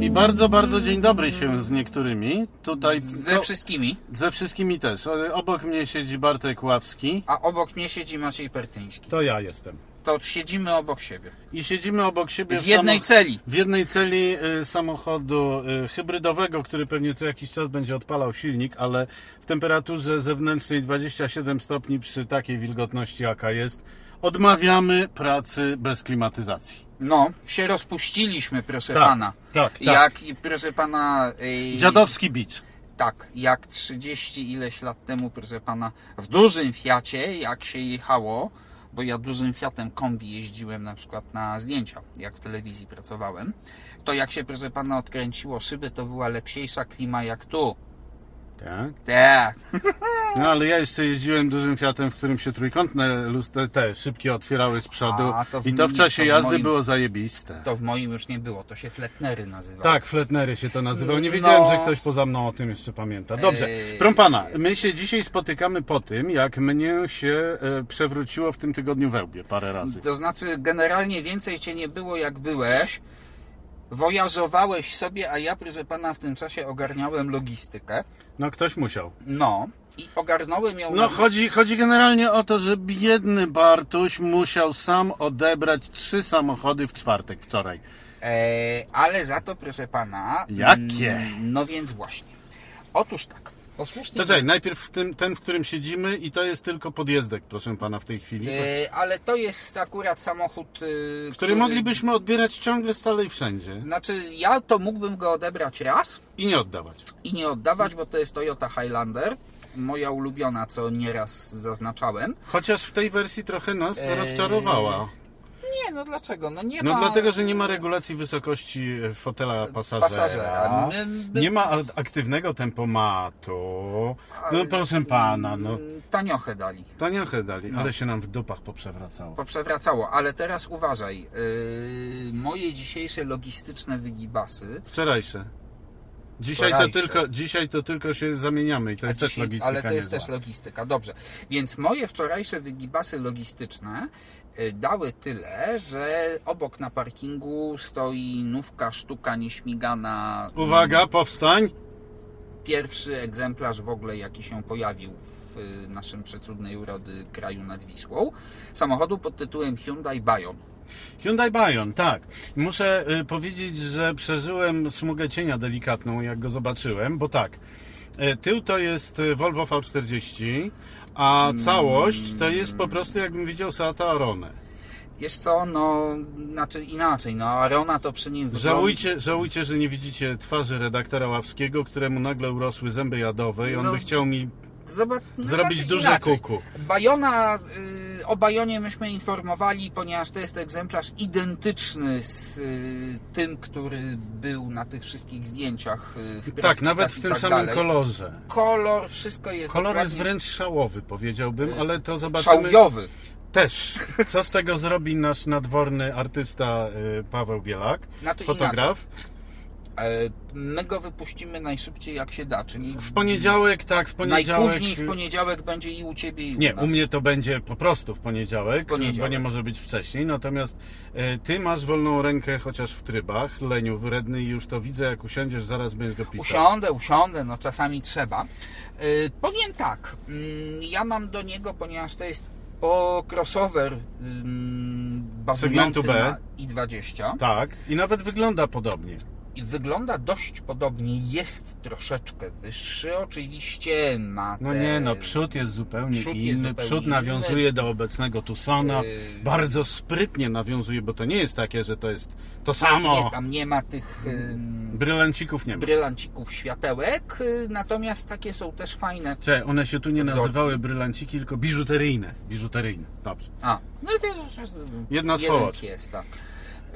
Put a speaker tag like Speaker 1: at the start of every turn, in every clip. Speaker 1: I bardzo, bardzo dzień dobry się z niektórymi. Tutaj
Speaker 2: Ze
Speaker 1: no,
Speaker 2: wszystkimi.
Speaker 1: ze wszystkimi też. E, Obok mnie siedzi Bartek Ławski.
Speaker 2: A obok mnie siedzi Maciej Pertyński.
Speaker 3: To ja jestem.
Speaker 2: To siedzimy obok siebie.
Speaker 1: I siedzimy obok siebie
Speaker 2: W jednej celi.
Speaker 1: W jednej celi y, samochodu y, hybrydowego, który pewnie co jakiś czas będzie odpalał silnik, ale w temperaturze zewnętrznej 27 stopni przy takiej wilgotności jaka jest, odmawiamy pracy bez klimatyzacji.
Speaker 2: No, się rozpuściliśmy, proszę
Speaker 3: Tak,
Speaker 2: pana.
Speaker 3: tak, tak.
Speaker 2: Jak, proszę pana... Yy,
Speaker 1: Dziadowski bicz.
Speaker 2: Tak, jak 30 ileś lat temu, proszę pana, w dużym Fiacie, jak się jechało, bo ja dużym Fiatem kombi jeździłem na przykład na zdjęcia, jak w telewizji pracowałem, to jak się, proszę pana, odkręciło szyby, to była lepsiejsza klima jak tu.
Speaker 1: Tak.
Speaker 2: Tak,
Speaker 1: No ale ja jeszcze jeździłem dużym Fiatem, w którym się trójkątne lustre, te szybkie otwierały z przodu
Speaker 2: A, to w
Speaker 1: i to w
Speaker 2: moim-
Speaker 1: czasie
Speaker 2: to w
Speaker 1: jazdy
Speaker 2: moim-
Speaker 1: było zajebiste.
Speaker 2: to w moim już nie było, to się fletnery nazywało.
Speaker 3: Tak, Fletnery się to nazywał. Nie wiedziałem,
Speaker 2: No.
Speaker 3: że ktoś poza mną o tym jeszcze pamięta. Dobrze.
Speaker 2: Eee.
Speaker 1: Proszę pana, my się dzisiaj spotykamy po tym, jak mnie się e, przewróciło w tym tygodniu wełbie parę razy.
Speaker 2: To znaczy, generalnie więcej cię nie było jak byłeś. Wojażowałeś sobie, a ja, proszę pana, w tym czasie ogarniałem logistykę.
Speaker 1: No ktoś musiał.
Speaker 2: No. I ogarnąłem ją.
Speaker 1: No
Speaker 2: na-
Speaker 1: chodzi, chodzi generalnie o to, że biedny Bartuś musiał sam odebrać trzy samochody w czwartek wczoraj.
Speaker 2: E, ale za to, proszę pana.
Speaker 1: Jakie?
Speaker 2: mm, No więc właśnie. Otóż tak. Posłusznie.
Speaker 1: To czekaj, najpierw w tym, ten, w którym siedzimy i to jest tylko podjezdek, proszę pana, w tej chwili.
Speaker 2: E, ale to jest akurat samochód, e,
Speaker 1: Który moglibyśmy odbierać ciągle, stale i wszędzie.
Speaker 2: Znaczy, ja to mógłbym go odebrać raz
Speaker 1: I nie oddawać.
Speaker 2: i nie oddawać, bo to jest Toyota Highlander. Moja ulubiona, co nieraz zaznaczałem.
Speaker 1: Chociaż w tej wersji trochę nas
Speaker 2: Eee,
Speaker 1: rozczarowała.
Speaker 2: Nie, no dlaczego? No nie
Speaker 1: No
Speaker 2: ma.
Speaker 1: dlatego, że nie ma regulacji wysokości e, fotela pasażera. no.
Speaker 2: Pasażera. My- my-
Speaker 1: Nie ma a- aktywnego tempomatu. No proszę pana, no.
Speaker 2: Taniochę dali.
Speaker 1: Taniochę dali, ale się nam w dupach poprzewracało.
Speaker 2: Poprzewracało, ale teraz uważaj. Yy, moje dzisiejsze logistyczne wygibasy.
Speaker 1: Wczorajsze. Dzisiaj to,
Speaker 2: Wczorajsze.
Speaker 1: tylko, dzisiaj to tylko się zamieniamy i to jest
Speaker 2: A
Speaker 1: też
Speaker 2: dzisiaj-
Speaker 1: logistyka.
Speaker 2: Ale to jest
Speaker 1: niezła.
Speaker 2: też logistyka, dobrze. Więc moje wczorajsze wygibasy logistyczne y, dały tyle, że obok na parkingu stoi nówka sztuka nieśmigana.
Speaker 1: Uwaga, powstań!
Speaker 2: Pierwszy egzemplarz w ogóle, jaki się pojawił w y, naszym przecudnej urody kraju nad Wisłą. Samochodu pod tytułem Hyundai Bayon.
Speaker 1: Hyundai Bayon, tak. Muszę y, powiedzieć, że przeżyłem smugę cienia delikatną, jak go zobaczyłem, bo tak. y, Tył to jest y, Volvo V40, a
Speaker 2: Mm.
Speaker 1: całość to jest po prostu jakbym widział Seata Aronę.
Speaker 2: Wiesz co, no, znaczy inaczej, no, Arona to przy nim... wygląda-
Speaker 1: Żałujcie, żałujcie, że nie widzicie twarzy redaktora Ławskiego, któremu nagle urosły zęby jadowe i on
Speaker 2: No.
Speaker 1: by chciał mi...
Speaker 2: Zobacz, no
Speaker 1: Zrobić
Speaker 2: znaczy
Speaker 1: duże
Speaker 2: inaczej.
Speaker 1: kuku. Tak,
Speaker 2: Bajona, y, o Bajonie myśmy informowali, ponieważ to jest egzemplarz identyczny z y, tym, który był na tych wszystkich zdjęciach. y, W
Speaker 1: Tak,
Speaker 2: preskitach
Speaker 1: nawet
Speaker 2: i
Speaker 1: w tym
Speaker 2: tak
Speaker 1: samym
Speaker 2: dalej.
Speaker 1: kolorze.
Speaker 2: Kolor, wszystko jest
Speaker 1: Kolor jest
Speaker 2: dokładnie Y,
Speaker 1: wręcz szałowy, powiedziałbym, ale to zobaczymy...
Speaker 2: szałwiowy.
Speaker 1: Też. Co z tego zrobi nasz nadworny artysta y, Paweł Bielak,
Speaker 2: Znaczy
Speaker 1: fotograf.
Speaker 2: E, My go wypuścimy najszybciej jak się da, czyli
Speaker 1: W poniedziałek, tak, w poniedziałek...
Speaker 2: najpóźniej w poniedziałek będzie i u Ciebie i
Speaker 1: Nie,
Speaker 2: u nas.
Speaker 1: u mnie to będzie po prostu w poniedziałek,
Speaker 2: poniedziałek.
Speaker 1: bo nie może być wcześniej. Natomiast e, ty masz wolną rękę chociaż w trybach, leniu wredny i już to widzę, jak usiądziesz, zaraz będziesz go pisał.
Speaker 2: Usiądę, usiądę, no czasami trzeba. Y, powiem tak, mm, ja mam do niego, ponieważ to jest po crossover yy,
Speaker 1: Segmentu
Speaker 2: bazujący
Speaker 1: B.
Speaker 2: na i20
Speaker 1: Tak, i nawet wygląda podobnie.
Speaker 2: i wygląda dość podobnie, jest troszeczkę wyższy oczywiście, ma
Speaker 1: No
Speaker 2: te-
Speaker 1: nie, no przód jest zupełnie
Speaker 2: przód
Speaker 1: inny.
Speaker 2: jest zupełnie
Speaker 1: przód
Speaker 2: inny.
Speaker 1: nawiązuje do obecnego Tucsona.
Speaker 2: Yy.
Speaker 1: Bardzo sprytnie nawiązuje, bo to nie jest takie, że to jest to
Speaker 2: Nie,
Speaker 1: samo.
Speaker 2: tam nie ma tych yy,
Speaker 1: Brylancików nie ma.
Speaker 2: brylancików światełek, y, natomiast takie są też fajne.
Speaker 1: Cze, one się tu nie
Speaker 2: Wzorki.
Speaker 1: nazywały brylanciki, tylko biżuteryjne. Biżuteryjne, dobrze.
Speaker 2: A, no to już
Speaker 1: Jedna z
Speaker 2: jeden
Speaker 1: połacz.
Speaker 2: jest, tak.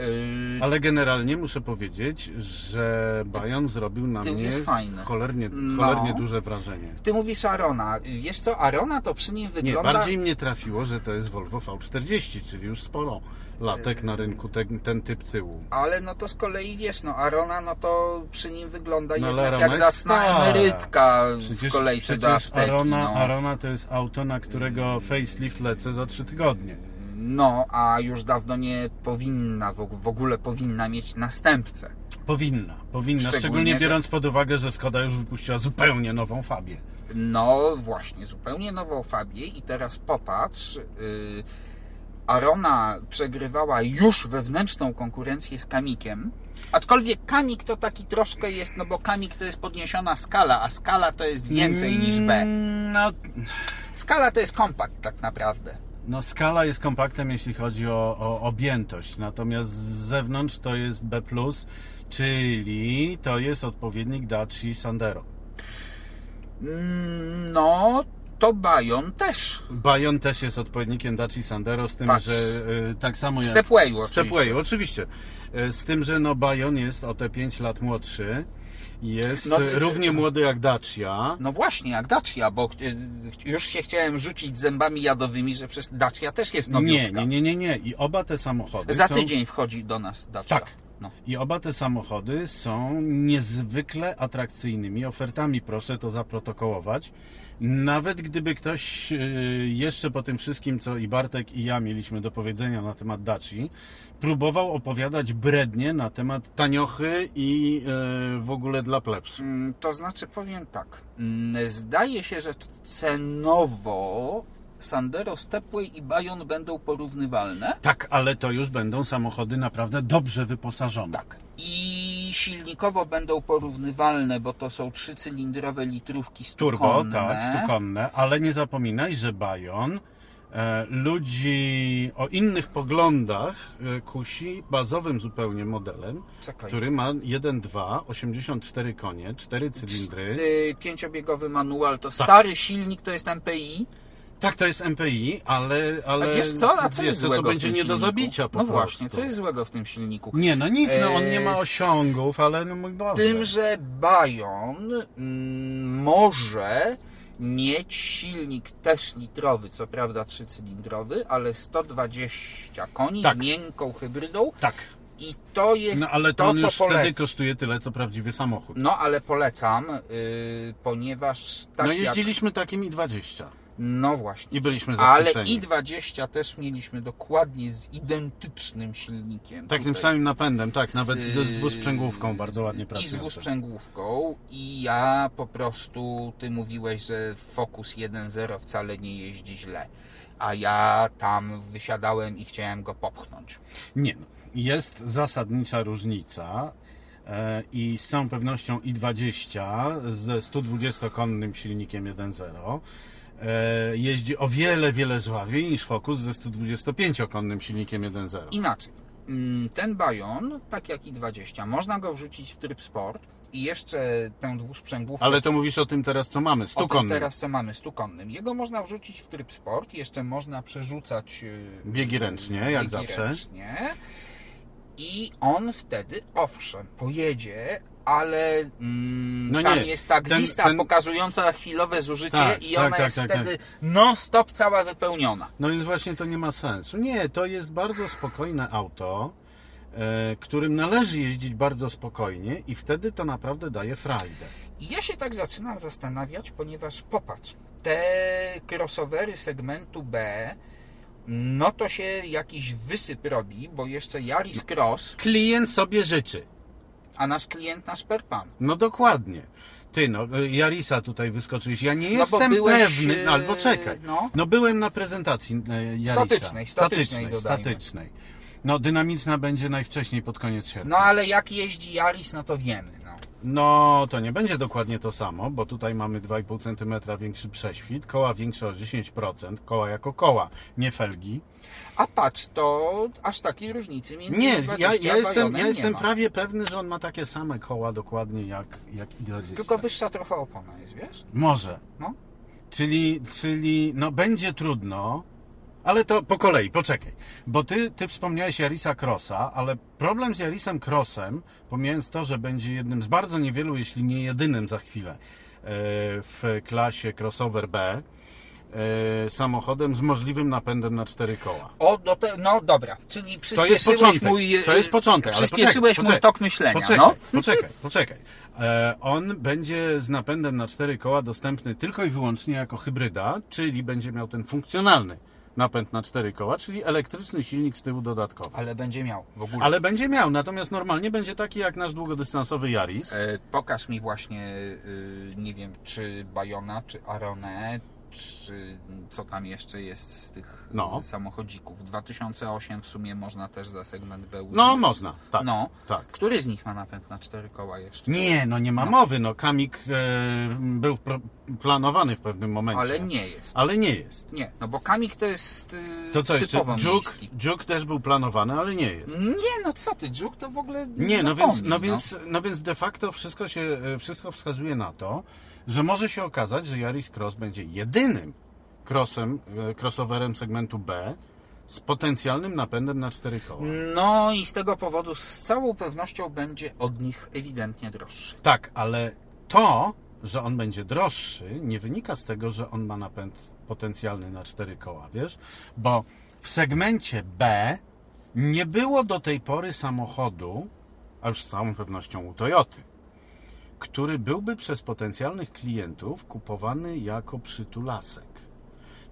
Speaker 2: Y,
Speaker 1: Ale generalnie muszę powiedzieć, że Bajon zrobił na
Speaker 2: Tył
Speaker 1: mnie
Speaker 2: jest fajny.
Speaker 1: cholernie,
Speaker 2: No.
Speaker 1: cholernie duże wrażenie.
Speaker 2: Ty mówisz Arona. Wiesz co, Arona to przy nim
Speaker 1: Nie,
Speaker 2: wygląda...
Speaker 1: bardziej mnie trafiło, że to jest Volvo V40, czyli już sporo latek na rynku ten, ten typ tyłu.
Speaker 2: Ale no to z kolei wiesz, no Arona no to przy nim wygląda
Speaker 1: No, ale
Speaker 2: jednak
Speaker 1: Arona
Speaker 2: jak
Speaker 1: jest
Speaker 2: zacna
Speaker 1: stara.
Speaker 2: emerytka
Speaker 1: Przecież,
Speaker 2: w kolejce
Speaker 1: przecież
Speaker 2: do apteki.
Speaker 1: Arona,
Speaker 2: no.
Speaker 1: Arona to jest auto, na którego facelift lecę za trzy tygodnie.
Speaker 2: No, a już dawno nie powinna, w og- w ogóle powinna mieć następcę.
Speaker 1: Powinna, powinna. Szczególnie,
Speaker 2: Szczególnie, że-
Speaker 1: biorąc pod uwagę, że Skoda już wypuściła zupełnie nową Fabię.
Speaker 2: No właśnie, zupełnie nową Fabię i teraz popatrz. Yy, Arona przegrywała już wewnętrzną konkurencję z Kamikiem. Aczkolwiek Kamik to taki troszkę jest, no bo Kamik to jest podniesiona skala, a skala to jest więcej niż B.
Speaker 1: Mm, No,
Speaker 2: Skala to jest kompakt tak naprawdę.
Speaker 1: no skala jest kompaktem, jeśli chodzi o, o objętość, natomiast z zewnątrz to jest B+, czyli to jest odpowiednik Dacia Sandero.
Speaker 2: Mm, No, to Bayon też.
Speaker 1: Bayon też jest odpowiednikiem Dacia Sandero, z tym,
Speaker 2: Patrz.
Speaker 1: że y, tak samo jak...
Speaker 2: Stepwayu oczywiście.
Speaker 1: Stepwayu, oczywiście. Y, Z tym, że no Bayon jest o te 5 lat młodszy, jest
Speaker 2: No,
Speaker 1: y,
Speaker 2: czy-
Speaker 1: równie młody jak Dacia.
Speaker 2: No właśnie, jak Dacia, bo y, już się chciałem rzucić zębami jadowymi, że przecież Dacia też jest
Speaker 1: nie,
Speaker 2: No, nowiutka.
Speaker 1: nie, nie, nie, nie. I oba te samochody
Speaker 2: Za
Speaker 1: są...
Speaker 2: tydzień wchodzi do nas Dacia.
Speaker 1: Tak.
Speaker 2: No.
Speaker 1: I oba te samochody są niezwykle atrakcyjnymi ofertami, proszę to zaprotokołować. Nawet gdyby ktoś yy, jeszcze po tym wszystkim, co i Bartek i ja mieliśmy do powiedzenia na temat Daci, próbował opowiadać brednie na temat taniochy i yy, w ogóle dla plebsu.
Speaker 2: Mm, To znaczy powiem tak. Mm, Zdaje się, że cenowo Sandero, Stepway i Bayon będą porównywalne.
Speaker 1: Tak, ale to już będą samochody naprawdę dobrze wyposażone.
Speaker 2: Tak. I silnikowo będą porównywalne, bo to są trzycylindrowe litrówki
Speaker 1: Turbo,
Speaker 2: stukonne.
Speaker 1: tak, stukonne, ale nie zapominaj, że Bajon e, ludzi o innych poglądach e, kusi bazowym zupełnie modelem,
Speaker 2: Czekaj.
Speaker 1: który ma 1.2, 84 konie, 4 cylindry.
Speaker 2: Y, Pięciobiegowy manual to stary silnik, to jest MPI.
Speaker 1: Tak, to jest MPI, ale...
Speaker 2: A
Speaker 1: ale
Speaker 2: wiesz co? A co
Speaker 1: wiesz
Speaker 2: jest złego
Speaker 1: To będzie
Speaker 2: w tym
Speaker 1: nie do
Speaker 2: silniku?
Speaker 1: zabicia po
Speaker 2: No
Speaker 1: prostu.
Speaker 2: właśnie, co jest złego w tym silniku?
Speaker 1: Nie, no nic, no on
Speaker 2: Eee,
Speaker 1: nie ma osiągów, ale no mój Boże.
Speaker 2: tym, że Bayon mm, może mieć silnik też litrowy, co prawda trzycylindrowy, ale 120 koni
Speaker 1: Tak.
Speaker 2: z miękką hybrydą
Speaker 1: Tak,
Speaker 2: i to jest
Speaker 1: no ale to,
Speaker 2: to,
Speaker 1: on
Speaker 2: co
Speaker 1: już wtedy
Speaker 2: polecam.
Speaker 1: kosztuje tyle, co prawdziwy samochód.
Speaker 2: No ale polecam, yy, ponieważ tak
Speaker 1: no
Speaker 2: jak...
Speaker 1: jeździliśmy takim i 20
Speaker 2: No właśnie.
Speaker 1: i byliśmy
Speaker 2: Ale
Speaker 1: zachwyceni.
Speaker 2: i20 też mieliśmy dokładnie z identycznym silnikiem.
Speaker 1: Tak, tym
Speaker 2: Tutaj
Speaker 1: samym napędem, tak, nawet z, z dwusprzęgłówką bardzo ładnie
Speaker 2: y, I z
Speaker 1: pracującą.
Speaker 2: dwusprzęgłówką i ja po prostu, ty mówiłeś, że Focus 1.0 wcale nie jeździ źle, a ja tam wysiadałem i chciałem go popchnąć.
Speaker 1: Nie, no, jest zasadnicza różnica e, i z całą pewnością i20 ze 120-konnym silnikiem 1.0 e, jeździ o wiele, wiele żwawiej niż Focus ze 125-konnym silnikiem 1.0.
Speaker 2: Inaczej, mm, ten Bayon, tak jak i 20, można go wrzucić w tryb sport i jeszcze tę dwusprzęgłówkę
Speaker 1: Ale to mówisz o tym teraz, co mamy,
Speaker 2: o tym
Speaker 1: 100-konnym.
Speaker 2: teraz co mamy stukonnym. Jego można wrzucić w tryb sport, jeszcze można przerzucać yy,
Speaker 1: Biegi ręcznie, jak
Speaker 2: biegi
Speaker 1: zawsze.
Speaker 2: Ręcznie. I on wtedy, owszem, pojedzie, ale mm,
Speaker 1: No
Speaker 2: tam
Speaker 1: nie,
Speaker 2: jest tak
Speaker 1: ten-
Speaker 2: lista
Speaker 1: ten-
Speaker 2: pokazująca chwilowe zużycie
Speaker 1: Tak,
Speaker 2: i
Speaker 1: tak,
Speaker 2: ona
Speaker 1: tak,
Speaker 2: jest
Speaker 1: tak,
Speaker 2: wtedy non-stop cała wypełniona.
Speaker 1: No więc właśnie to nie ma sensu. Nie, to jest bardzo spokojne auto, e, którym należy jeździć bardzo spokojnie i wtedy to naprawdę daje frajdę.
Speaker 2: I ja się tak zaczynam zastanawiać, ponieważ popatrz, te crossovery segmentu B, no to się jakiś wysyp robi, bo jeszcze Yaris Cross,
Speaker 1: Klient sobie życzy.
Speaker 2: a nasz klient nasz Perpan.
Speaker 1: No dokładnie. Ty, no, y, Jarisa tutaj wyskoczyłeś. Ja nie
Speaker 2: No bo
Speaker 1: jestem
Speaker 2: byłeś,
Speaker 1: pewny.
Speaker 2: y,
Speaker 1: No, albo czekaj.
Speaker 2: no.
Speaker 1: byłem na prezentacji e, Jarisa.
Speaker 2: Statycznej, statycznej dodajmy.
Speaker 1: statycznej. No, dynamiczna będzie najwcześniej pod koniec sierpnia.
Speaker 2: No ale jak jeździ Yaris, no to wiemy. No.
Speaker 1: No, to nie będzie dokładnie to samo, bo tutaj mamy 2,5 cm większy prześwit, koła większe o 10%, koła jako koła, nie felgi.
Speaker 2: A patrz, to aż takiej różnicy między
Speaker 1: Nie,
Speaker 2: I20
Speaker 1: ja,
Speaker 2: a
Speaker 1: ja jestem,
Speaker 2: Bajonem
Speaker 1: ja
Speaker 2: nie
Speaker 1: jestem
Speaker 2: ma.
Speaker 1: prawie pewny, że on ma takie same koła dokładnie jak, jak i 20.
Speaker 2: Tylko wyższa trochę opona jest, wiesz?
Speaker 1: Może.
Speaker 2: No.
Speaker 1: Czyli, czyli, no będzie trudno, ale to po kolei, poczekaj. Bo ty, ty wspomniałeś Jarisa Crossa, ale problem z Jarisem Crossem, pomijając to, że będzie jednym z bardzo niewielu, jeśli nie jedynym za chwilę, e, w klasie crossover B, e, samochodem z możliwym napędem na cztery koła.
Speaker 2: O, do te, no dobra, czyli przyspieszyłeś
Speaker 1: początek,
Speaker 2: mój... e,
Speaker 1: to jest początek, ale
Speaker 2: Przyspieszyłeś
Speaker 1: poczekaj,
Speaker 2: mój
Speaker 1: poczekaj,
Speaker 2: tok myślenia,
Speaker 1: Poczekaj,
Speaker 2: no.
Speaker 1: poczekaj, poczekaj. E, on będzie z napędem na cztery koła dostępny tylko i wyłącznie jako hybryda, czyli będzie miał ten funkcjonalny napęd na cztery koła, czyli elektryczny silnik z tyłu dodatkowy.
Speaker 2: Ale będzie miał w ogóle.
Speaker 1: Ale będzie miał, natomiast normalnie będzie taki jak nasz długodystansowy Yaris.
Speaker 2: E, pokaż mi właśnie, y, nie wiem, czy Bajona, czy Aronę, czy co tam jeszcze jest z tych
Speaker 1: No.
Speaker 2: y, samochodzików. 2008 w sumie można też za segment B uznać.
Speaker 1: No, można, tak.
Speaker 2: No.
Speaker 1: tak.
Speaker 2: Który z nich ma napęd na cztery koła jeszcze?
Speaker 1: Nie, no nie ma mowy, no Kamik e, był pro, planowany w pewnym momencie.
Speaker 2: Ale nie jest.
Speaker 1: Ale nie jest.
Speaker 2: Nie, no bo Kamik to jest y,
Speaker 1: To co jeszcze?
Speaker 2: typowo
Speaker 1: Dżuk,
Speaker 2: miejski.
Speaker 1: dżuk też był planowany, ale nie jest.
Speaker 2: Nie, no co ty, Dżuk to w ogóle
Speaker 1: Nie, no
Speaker 2: zapomnij,
Speaker 1: więc, no, więc, no więc de facto wszystko, się, e, wszystko wskazuje na to, że może się okazać, że Yaris Cross będzie jedynym crossem, e, crossoverem segmentu B z potencjalnym napędem na cztery koła.
Speaker 2: No i z tego powodu z całą pewnością będzie od nich ewidentnie droższy.
Speaker 1: Tak, ale to, że on będzie droższy, nie wynika z tego, że on ma napęd potencjalny na cztery koła, wiesz? Bo w segmencie B nie było do tej pory samochodu, a już z całą pewnością u Toyoty, który byłby przez potencjalnych klientów kupowany jako przytulasek.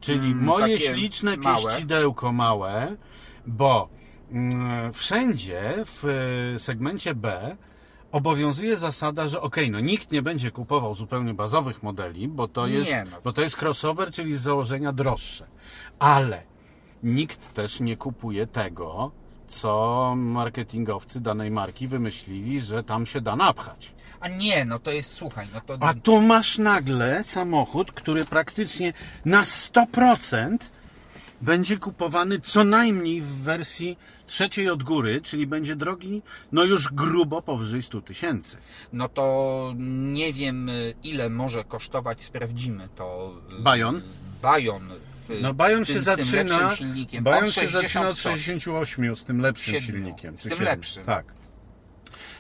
Speaker 1: Czyli
Speaker 2: Mm,
Speaker 1: moje
Speaker 2: takie
Speaker 1: śliczne
Speaker 2: małe.
Speaker 1: pieścidełko małe, bo mm, wszędzie w e, segmencie B obowiązuje zasada, że okej, no nikt nie będzie kupował zupełnie bazowych modeli, bo to
Speaker 2: Nie,
Speaker 1: jest,
Speaker 2: no.
Speaker 1: bo to jest crossover, czyli z założenia droższe. Ale nikt też nie kupuje tego, co marketingowcy danej marki wymyślili, że tam się da napchać.
Speaker 2: A nie, no to jest, słuchaj, no to...
Speaker 1: A tu masz nagle samochód, który praktycznie na 100% będzie kupowany co najmniej w wersji trzeciej od góry, czyli będzie drogi, no już grubo powyżej 100 tysięcy.
Speaker 2: No to nie wiem, y, ile może kosztować, sprawdzimy to. y,
Speaker 1: Bajon?
Speaker 2: Bajon. W,
Speaker 1: No Bajon
Speaker 2: tym-
Speaker 1: się
Speaker 2: z tym lepszym
Speaker 1: zaczyna,
Speaker 2: silnikiem.
Speaker 1: Bajon
Speaker 2: od
Speaker 1: się
Speaker 2: 60
Speaker 1: zaczyna od
Speaker 2: coś.
Speaker 1: 68 z tym lepszym
Speaker 2: Siedmiu.
Speaker 1: silnikiem.
Speaker 2: Z
Speaker 1: czy
Speaker 2: tym
Speaker 1: siedmiu.
Speaker 2: lepszym.
Speaker 1: Tak.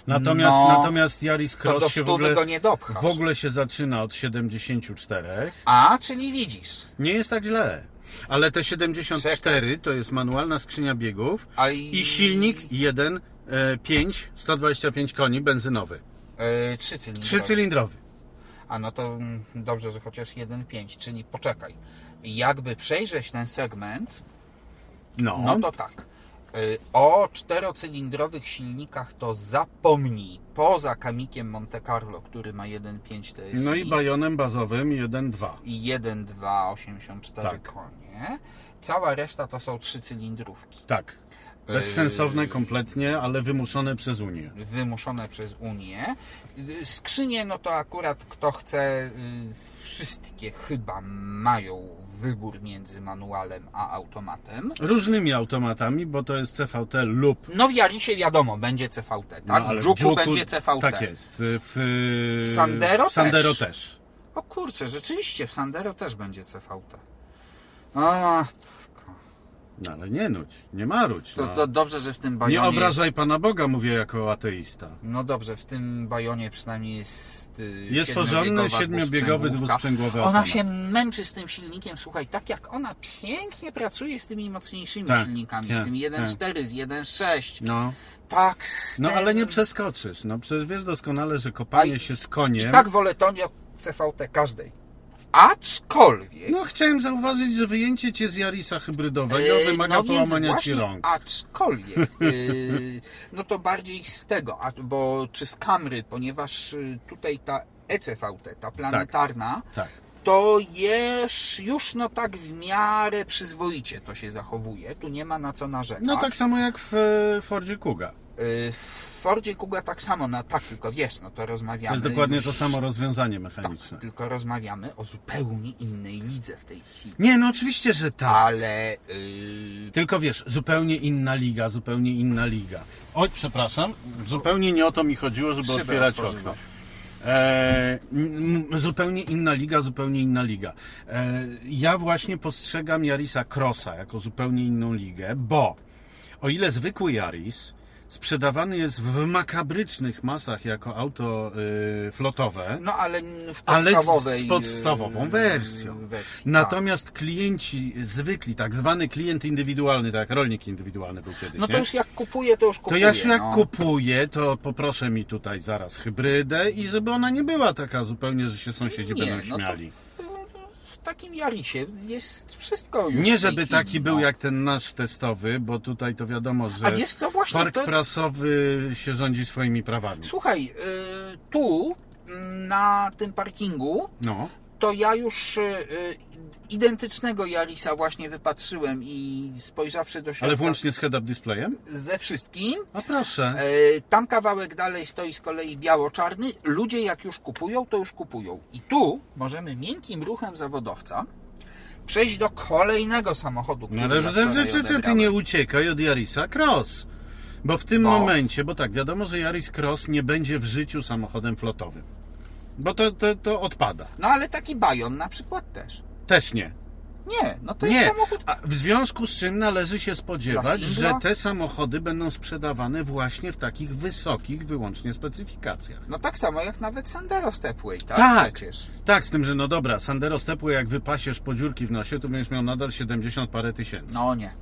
Speaker 1: Natomiast,
Speaker 2: No,
Speaker 1: natomiast Yaris
Speaker 2: To do
Speaker 1: Cross się w
Speaker 2: stówy
Speaker 1: ogóle,
Speaker 2: go nie dopchasz.
Speaker 1: w ogóle się zaczyna od 74.
Speaker 2: A, czyli widzisz.
Speaker 1: Nie jest tak źle. Ale te 74 to jest manualna skrzynia biegów
Speaker 2: A
Speaker 1: i silnik e, 1.5, 125 koni benzynowy.
Speaker 2: Yy, trzy cylindry.
Speaker 1: Trzycylindrowy.
Speaker 2: A no to mm, dobrze, że chociaż 1,5, czyli poczekaj. Jakby przejrzeć ten segment,
Speaker 1: No.
Speaker 2: No to tak. Y, O czterocylindrowych silnikach to zapomnij. Poza kamikiem Monte Carlo, który ma 1,5 TSI
Speaker 1: no i bajonem bazowym 1.2.
Speaker 2: i 1,284
Speaker 1: Tak.
Speaker 2: konie. Cała reszta to są trzycylindrówki.
Speaker 1: Tak.
Speaker 2: E-
Speaker 1: Bezsensowne kompletnie, ale wymuszone przez Unię.
Speaker 2: Wymuszone przez Unię. Y, Skrzynie, no to akurat kto chce, y, wszystkie chyba mają wybór między manualem a automatem.
Speaker 1: Różnymi automatami, bo to jest CVT lub
Speaker 2: No w Jarisie wiadomo, będzie CVT, tak?
Speaker 1: No, ale
Speaker 2: w
Speaker 1: w
Speaker 2: Dżuku
Speaker 1: Juku-
Speaker 2: będzie CVT.
Speaker 1: Tak jest. W, y,
Speaker 2: W Sandero
Speaker 1: w Sandero
Speaker 2: też.
Speaker 1: też.
Speaker 2: O kurczę, rzeczywiście w Sandero też będzie CVT. O, matko.
Speaker 1: No ale nie nudź, nie marudź.
Speaker 2: to,
Speaker 1: no.
Speaker 2: to dobrze, że w tym bajonie.
Speaker 1: nie obrażaj Pana Boga, mówię jako ateista.
Speaker 2: No dobrze, w tym bajonie przynajmniej jest. y,
Speaker 1: Jest porządny
Speaker 2: siedmiobiegowa
Speaker 1: siedmiobiegowy
Speaker 2: dwusprzęgłówka.
Speaker 1: dwusprzęgłowy
Speaker 2: Ona
Speaker 1: automat.
Speaker 2: się męczy z tym silnikiem, słuchaj, tak jak ona pięknie pracuje z tymi mocniejszymi
Speaker 1: Tak,
Speaker 2: silnikami, z
Speaker 1: tak,
Speaker 2: tym 1.4, z 1.6.
Speaker 1: No,
Speaker 2: Tak, z
Speaker 1: no
Speaker 2: tym...
Speaker 1: ale nie przeskoczysz. No przecież wiesz doskonale, że kopanie
Speaker 2: Aj,
Speaker 1: się z koniem.
Speaker 2: Tak wolę to nie od CVT każdej. Aczkolwiek.
Speaker 1: No chciałem zauważyć, że wyjęcie cię z Jarisa hybrydowego
Speaker 2: Eee,
Speaker 1: wymaga
Speaker 2: no więc
Speaker 1: połamania
Speaker 2: właśnie,
Speaker 1: ci rąk.
Speaker 2: Aczkolwiek, yy, no to bardziej z tego, a, bo czy z kamry, ponieważ y, tutaj ta ECVT, ta planetarna,
Speaker 1: Tak.
Speaker 2: to jest już no tak w miarę przyzwoicie to się zachowuje. Tu nie ma na co narzekać.
Speaker 1: No tak samo jak w e, Fordzie Kuga.
Speaker 2: Yy, w Fordzie Kuga tak samo, no tak, tylko wiesz, no to rozmawiamy.
Speaker 1: To jest dokładnie
Speaker 2: już,
Speaker 1: to samo rozwiązanie
Speaker 2: Tak,
Speaker 1: mechaniczne.
Speaker 2: tylko rozmawiamy o zupełnie innej lidze w tej chwili.
Speaker 1: Nie, no oczywiście, że tak.
Speaker 2: Ale yy,
Speaker 1: Tylko wiesz, zupełnie inna liga, zupełnie inna liga. Oj, przepraszam, zupełnie nie o to mi chodziło, żeby
Speaker 2: Szybę
Speaker 1: otwierać
Speaker 2: otworzyłeś.
Speaker 1: okno. E, m, m, zupełnie inna liga, zupełnie inna liga. E, ja właśnie postrzegam Jarisa Crossa jako zupełnie inną ligę, bo o ile zwykły Jaris sprzedawany jest w makabrycznych masach jako auto y, flotowe,
Speaker 2: No ale w
Speaker 1: Ale z
Speaker 2: podstawowej...
Speaker 1: podstawową
Speaker 2: yy,
Speaker 1: wersją.
Speaker 2: wersji, tak.
Speaker 1: Natomiast klienci zwykli, tak zwany klient indywidualny, tak jak rolnik indywidualny był kiedyś,
Speaker 2: tak. No
Speaker 1: nie?
Speaker 2: to już jak kupuję, to już
Speaker 1: To
Speaker 2: kupuję.
Speaker 1: ja się jak
Speaker 2: no.
Speaker 1: kupuję, to poproszę mi tutaj zaraz hybrydę i żeby ona nie była taka zupełnie, że się sąsiedzi
Speaker 2: Nie,
Speaker 1: będą
Speaker 2: no to-
Speaker 1: śmiali.
Speaker 2: w takim Jarisie jest wszystko już.
Speaker 1: Nie
Speaker 2: w tej
Speaker 1: żeby
Speaker 2: chwili,
Speaker 1: taki był
Speaker 2: no.
Speaker 1: jak ten nasz testowy, bo tutaj to wiadomo, że
Speaker 2: A wiesz co, właśnie
Speaker 1: park
Speaker 2: to...
Speaker 1: prasowy się rządzi swoimi prawami.
Speaker 2: Słuchaj, y, tu mm, na tym parkingu
Speaker 1: No.
Speaker 2: to ja już y, y, identycznego Jarisa właśnie wypatrzyłem i spojrzawszy do środka
Speaker 1: Ale włącznie z head-up displayem?
Speaker 2: ze wszystkim,
Speaker 1: A proszę.
Speaker 2: E, Tam kawałek dalej stoi z kolei biało-czarny. Ludzie jak już kupują, to już kupują. I tu możemy miękkim ruchem zawodowca przejść do kolejnego samochodu, który
Speaker 1: No
Speaker 2: ja
Speaker 1: ale że-
Speaker 2: wczoraj
Speaker 1: że- że- że ty
Speaker 2: odebrałem. No.
Speaker 1: nie uciekaj od Jarisa Cross. Bo w tym
Speaker 2: Bo-
Speaker 1: momencie, bo tak, wiadomo, że Jaris Cross nie będzie w życiu samochodem flotowym. Bo to, to, to odpada.
Speaker 2: No ale taki Bajon na przykład też.
Speaker 1: Też nie.
Speaker 2: Nie, no to
Speaker 1: nie.
Speaker 2: jest samochód...
Speaker 1: A w związku z czym należy się spodziewać,
Speaker 2: Dla singla?
Speaker 1: że te samochody będą sprzedawane właśnie w takich wysokich wyłącznie specyfikacjach.
Speaker 2: No tak samo jak nawet Sandero Stepway, tak?
Speaker 1: Tak.
Speaker 2: Przecież.
Speaker 1: Tak, z tym, że no dobra, Sandero Stepły jak wypasiesz po dziurki w nosie, to będziesz miał nadal 70 parę tysięcy.
Speaker 2: No nie.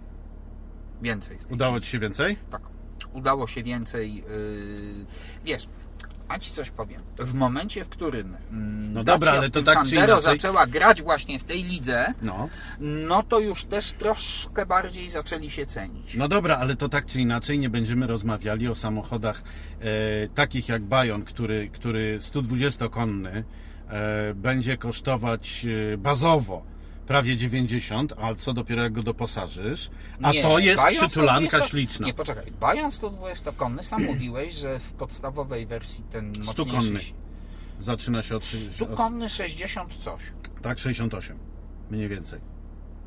Speaker 2: Więcej.
Speaker 1: Udało ci się więcej?
Speaker 2: Tak. Udało się więcej... Yy... Wiesz... A ci coś powiem. W momencie, w którym mm,
Speaker 1: No dobra,
Speaker 2: Dacia
Speaker 1: ale
Speaker 2: z
Speaker 1: to
Speaker 2: tym
Speaker 1: tak czy
Speaker 2: Sandero
Speaker 1: inaczej-
Speaker 2: zaczęła grać właśnie w tej lidze,
Speaker 1: No.
Speaker 2: no to już też troszkę bardziej zaczęli się cenić.
Speaker 1: No dobra, ale to tak czy inaczej nie będziemy rozmawiali o samochodach e, takich jak Bayon, który, który 120-konny e, będzie kosztować e, bazowo prawie 90, a co dopiero jak go doposażysz. No, A
Speaker 2: Nie,
Speaker 1: to jest
Speaker 2: Bayon
Speaker 1: przytulanka
Speaker 2: 120
Speaker 1: śliczna.
Speaker 2: Nie, poczekaj. Bajan 120-konny, sam mówiłeś, że w podstawowej wersji ten
Speaker 1: Stukonny.
Speaker 2: mocniejszy...
Speaker 1: Zaczyna się od, 30 od
Speaker 2: Stukonny 60 coś.
Speaker 1: tak 68 mniej więcej.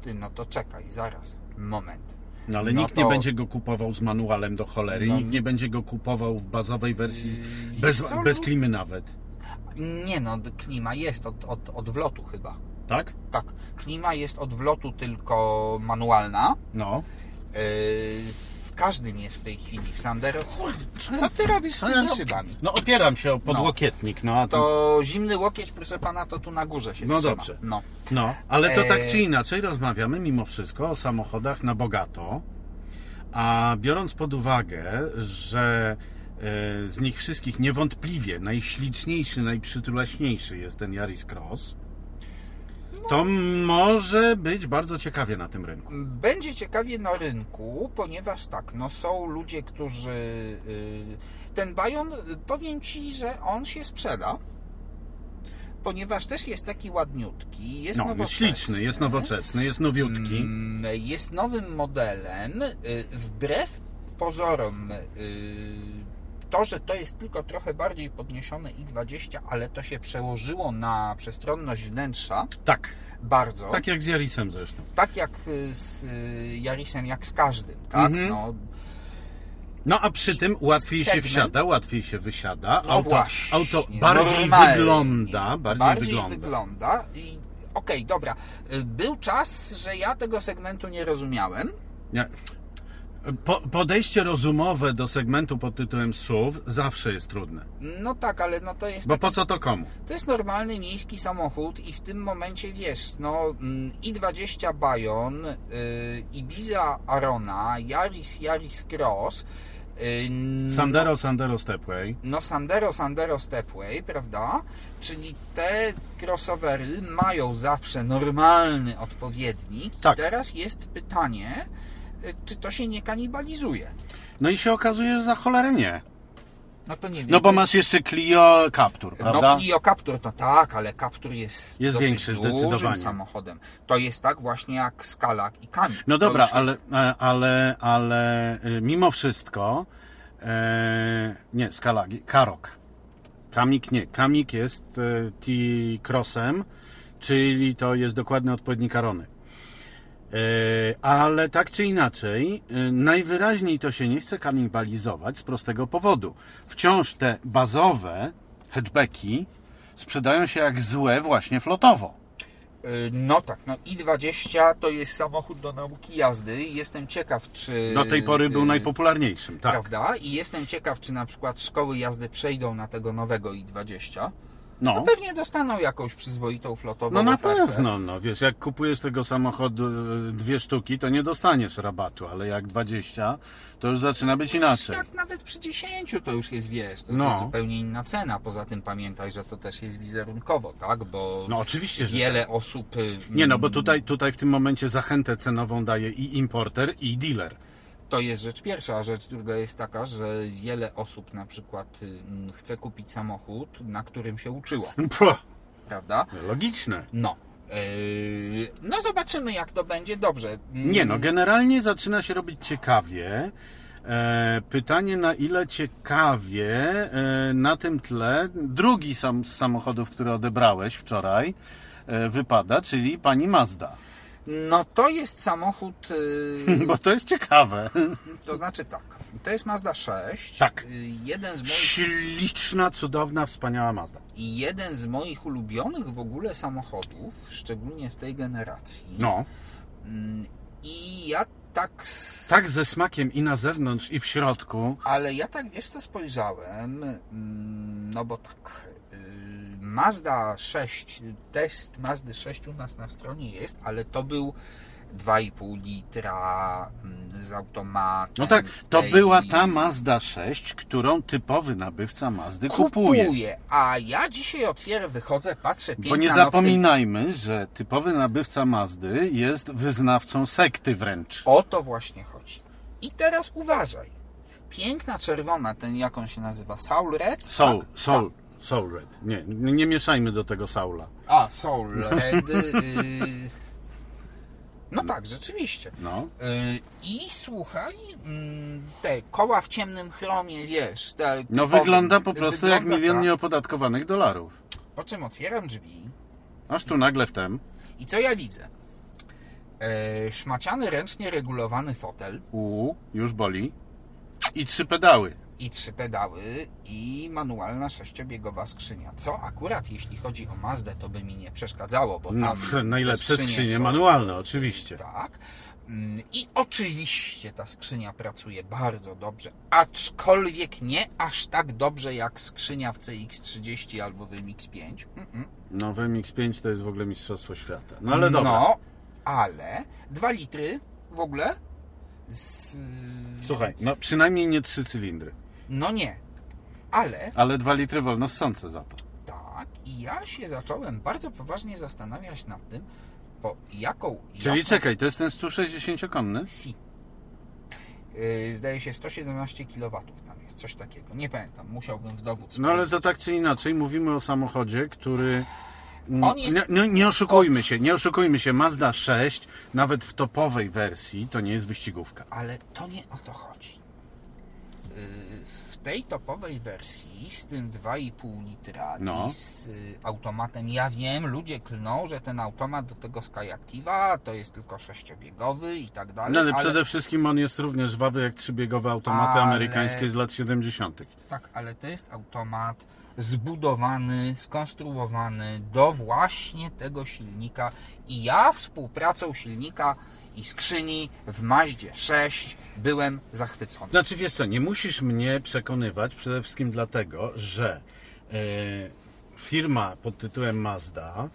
Speaker 2: Ty, no to czekaj, zaraz. Moment.
Speaker 1: No ale
Speaker 2: No
Speaker 1: nikt
Speaker 2: to-
Speaker 1: nie będzie go kupował z manualem do cholery,
Speaker 2: No.
Speaker 1: nikt nie będzie go kupował w bazowej wersji
Speaker 2: Yy,
Speaker 1: bez,
Speaker 2: wiesz co,
Speaker 1: bez
Speaker 2: lu-
Speaker 1: klimy nawet.
Speaker 2: Nie no, d- klima jest od, od, od wlotu chyba.
Speaker 1: Tak?
Speaker 2: Tak, klima jest od wlotu tylko manualna.
Speaker 1: No.
Speaker 2: Yy, w każdym jest w tej chwili. W Sandero... Co ty robisz z
Speaker 1: Co ja
Speaker 2: tymi
Speaker 1: robię?
Speaker 2: szybami?
Speaker 1: No opieram się o podłokietnik, no a to...
Speaker 2: To zimny łokieć, proszę pana, to tu na górze się
Speaker 1: No
Speaker 2: trzyma.
Speaker 1: dobrze.
Speaker 2: No.
Speaker 1: No, ale to tak
Speaker 2: Eee.
Speaker 1: czy inaczej rozmawiamy mimo wszystko o samochodach na bogato, a biorąc pod uwagę, że e, z nich wszystkich niewątpliwie najśliczniejszy, najprzytulaśniejszy jest ten Yaris Cross, to może być bardzo ciekawie na tym rynku.
Speaker 2: Będzie ciekawie na rynku, ponieważ tak, no są ludzie, którzy... y, Ten Bajon, y, powiem Ci, że on się sprzeda, ponieważ też jest taki ładniutki, jest
Speaker 1: No, jest
Speaker 2: nowoczesny.
Speaker 1: śliczny, jest nowoczesny, jest nowiutki.
Speaker 2: Mm, Jest nowym modelem, y, wbrew pozorom... y, To, że to jest tylko trochę bardziej podniesione i20, ale to się przełożyło na przestronność wnętrza
Speaker 1: Tak,
Speaker 2: bardzo.
Speaker 1: tak jak z Yarisem zresztą.
Speaker 2: tak jak y, z y, Jarisem, jak z każdym, tak?
Speaker 1: Mhm.
Speaker 2: No,
Speaker 1: No a przy tym łatwiej
Speaker 2: segment.
Speaker 1: się wsiada, łatwiej się wysiada,
Speaker 2: no
Speaker 1: auto,
Speaker 2: właśnie,
Speaker 1: auto bardziej
Speaker 2: normalnie.
Speaker 1: wygląda, bardziej, wygląda.
Speaker 2: wygląda i okej, dobra. Y, Był czas, że ja tego segmentu nie rozumiałem.
Speaker 1: Nie. Po, podejście rozumowe do segmentu pod tytułem SUV zawsze jest trudne.
Speaker 2: No tak, ale no to jest
Speaker 1: Bo po co to komu?
Speaker 2: To jest normalny miejski samochód i w tym momencie wiesz, no mm, i20 Bayon, y, Ibiza Arona, Yaris, Yaris Cross, y, no-
Speaker 1: Sandero, Sandero Stepway.
Speaker 2: no Sandero, Sandero Stepway, prawda? Czyli te crossovery mają zawsze normalny odpowiednik.
Speaker 1: Tak.
Speaker 2: I teraz jest pytanie, y, czy to się nie kanibalizuje?
Speaker 1: No i się okazuje, że za cholerę nie.
Speaker 2: No to nie wiem.
Speaker 1: No bo
Speaker 2: to-
Speaker 1: masz jeszcze Clio Captur, prawda?
Speaker 2: No i o Captur, to tak, ale Captur jest,
Speaker 1: Jest
Speaker 2: dosyć
Speaker 1: większy
Speaker 2: dużym
Speaker 1: zdecydowanie.
Speaker 2: samochodem. To jest tak właśnie jak Skalak i Kami.
Speaker 1: No dobra,
Speaker 2: to już
Speaker 1: ale,
Speaker 2: Jest...
Speaker 1: e, ale, ale y, mimo wszystko, e, nie, Skalagi, Karok. Kamik nie, Kamik jest e, T-Crossem, czyli to jest dokładny odpowiednik Arony. E, ale tak czy inaczej, e, najwyraźniej to się nie chce kanibalizować z prostego powodu. Wciąż te bazowe hatchbacki sprzedają się jak złe właśnie flotowo.
Speaker 2: y, No tak, no i20 to jest samochód do nauki jazdy. Jestem ciekaw, czy...
Speaker 1: Do tej pory był
Speaker 2: y,
Speaker 1: najpopularniejszym,
Speaker 2: e,
Speaker 1: tak.
Speaker 2: Prawda? I jestem ciekaw, czy na przykład szkoły jazdy przejdą na tego nowego i20.
Speaker 1: No.
Speaker 2: Pewnie dostaną jakąś przyzwoitą flotową
Speaker 1: No na
Speaker 2: ofertę.
Speaker 1: pewno, no wiesz, jak kupujesz tego samochodu y, dwie sztuki, to nie dostaniesz rabatu, ale jak 20, to już zaczyna być inaczej.
Speaker 2: Tak, nawet przy 10 to już jest, wiesz, to już
Speaker 1: No.
Speaker 2: jest zupełnie inna cena. Poza tym pamiętaj, że to też jest wizerunkowo, tak? Bo
Speaker 1: No oczywiście, że
Speaker 2: wiele osób... y,
Speaker 1: Nie no, bo tutaj, tutaj w tym momencie zachętę cenową daje i importer, i dealer.
Speaker 2: To jest rzecz pierwsza, a rzecz druga jest taka, że wiele osób na przykład y, chce kupić samochód, na którym się uczyło,
Speaker 1: Puh,
Speaker 2: prawda?
Speaker 1: logiczne.
Speaker 2: No. Yy, no zobaczymy jak to będzie. Dobrze. Mm,
Speaker 1: Nie no, generalnie zaczyna się robić ciekawie. E, pytanie na ile ciekawie e, na tym tle drugi sam z samochodów, który odebrałeś wczoraj, e, wypada, czyli pani Mazda.
Speaker 2: No to jest samochód, yy,
Speaker 1: Bo to jest ciekawe.
Speaker 2: to znaczy tak, to jest Mazda 6.
Speaker 1: Tak.
Speaker 2: Yy, jeden z moich
Speaker 1: Śliczna, cudowna, wspaniała Mazda.
Speaker 2: I jeden z moich ulubionych w ogóle samochodów, szczególnie w tej generacji.
Speaker 1: No,
Speaker 2: Mm, I ja tak. s-
Speaker 1: tak ze smakiem i na zewnątrz, i w środku.
Speaker 2: Ale ja tak wiesz co spojrzałem. mm, No bo tak. y, Mazda 6, test Mazdy 6 u nas na stronie jest, ale to był 2,5 litra mm, z automatu.
Speaker 1: No tak, to była ta Mazda 6, którą typowy nabywca Mazdy kupuje.
Speaker 2: A ja dzisiaj otwieram, wychodzę, patrzę
Speaker 1: Bo nie
Speaker 2: piękna, no w tej
Speaker 1: zapominajmy, że typowy nabywca Mazdy jest wyznawcą sekty wręcz.
Speaker 2: O to właśnie chodzi. I teraz uważaj. Piękna czerwona, ten jak on się nazywa? Saul Red?
Speaker 1: Soul,
Speaker 2: tak.
Speaker 1: Soul, Soul Red. Nie, nie nie mieszajmy do tego Saula.
Speaker 2: A, Saul Red. y, No tak, rzeczywiście.
Speaker 1: No.
Speaker 2: Y, I słuchaj, mm, te koła w ciemnym chromie, wiesz. Te,
Speaker 1: No
Speaker 2: typowe-
Speaker 1: wygląda po prostu jak
Speaker 2: wygląda
Speaker 1: milion
Speaker 2: tak.
Speaker 1: nieopodatkowanych dolarów.
Speaker 2: Po czym otwieram drzwi
Speaker 1: Aż tu nagle wtem.
Speaker 2: i co ja widzę? E, szmaciany, ręcznie regulowany fotel
Speaker 1: U, już boli. I trzy pedały.
Speaker 2: i trzy pedały i manualna sześciobiegowa skrzynia. Co akurat jeśli chodzi o Mazdę, to by mi nie przeszkadzało, bo tam
Speaker 1: No, pff,
Speaker 2: te
Speaker 1: najlepsze skrzynie
Speaker 2: są-
Speaker 1: manualne, oczywiście.
Speaker 2: Tak. Mm, I oczywiście ta skrzynia pracuje bardzo dobrze, aczkolwiek nie aż tak dobrze jak skrzynia w CX30 albo w MX5. Mm-mm.
Speaker 1: No, w MX-5 to jest w ogóle mistrzostwo świata. No ale dobra.
Speaker 2: No, ale 2 litry w ogóle z...
Speaker 1: Słuchaj, no przynajmniej nie trzy cylindry,
Speaker 2: No nie. Ale
Speaker 1: ale dwa litry wolno ssące za to.
Speaker 2: Tak, i ja się zacząłem bardzo poważnie zastanawiać nad tym, po jaką
Speaker 1: Czyli
Speaker 2: jasną-
Speaker 1: czekaj, to jest ten 160-konny?
Speaker 2: Si. Yy, zdaje się 117 kW tam jest, coś takiego. Nie pamiętam, musiałbym w dowód
Speaker 1: No ale
Speaker 2: sprawdzić.
Speaker 1: to tak czy inaczej, mówimy o samochodzie, który... mm,
Speaker 2: On jest-
Speaker 1: Nie, nie, nie oszukujmy się, nie oszukujmy się, Mazda 6, nawet w topowej wersji, to nie jest wyścigówka.
Speaker 2: Ale to nie o to chodzi. Yy, W tej topowej wersji z tym 2,5 litra
Speaker 1: No.
Speaker 2: i z y, automatem, ja wiem, ludzie klną, że ten automat do tego Skyactiva to jest tylko sześciobiegowy i tak dalej.
Speaker 1: No ale
Speaker 2: ale-
Speaker 1: przede wszystkim on jest równie żwawy jak trzybiegowe automaty
Speaker 2: Ale-
Speaker 1: amerykańskie z lat 70.
Speaker 2: Tak, ale to jest automat zbudowany, skonstruowany do właśnie tego silnika i ja współpracą silnika i skrzyni w Maździe 6 byłem zachwycony.
Speaker 1: Znaczy wiesz co, nie musisz mnie przekonywać przede wszystkim dlatego, że e, firma pod tytułem Mazda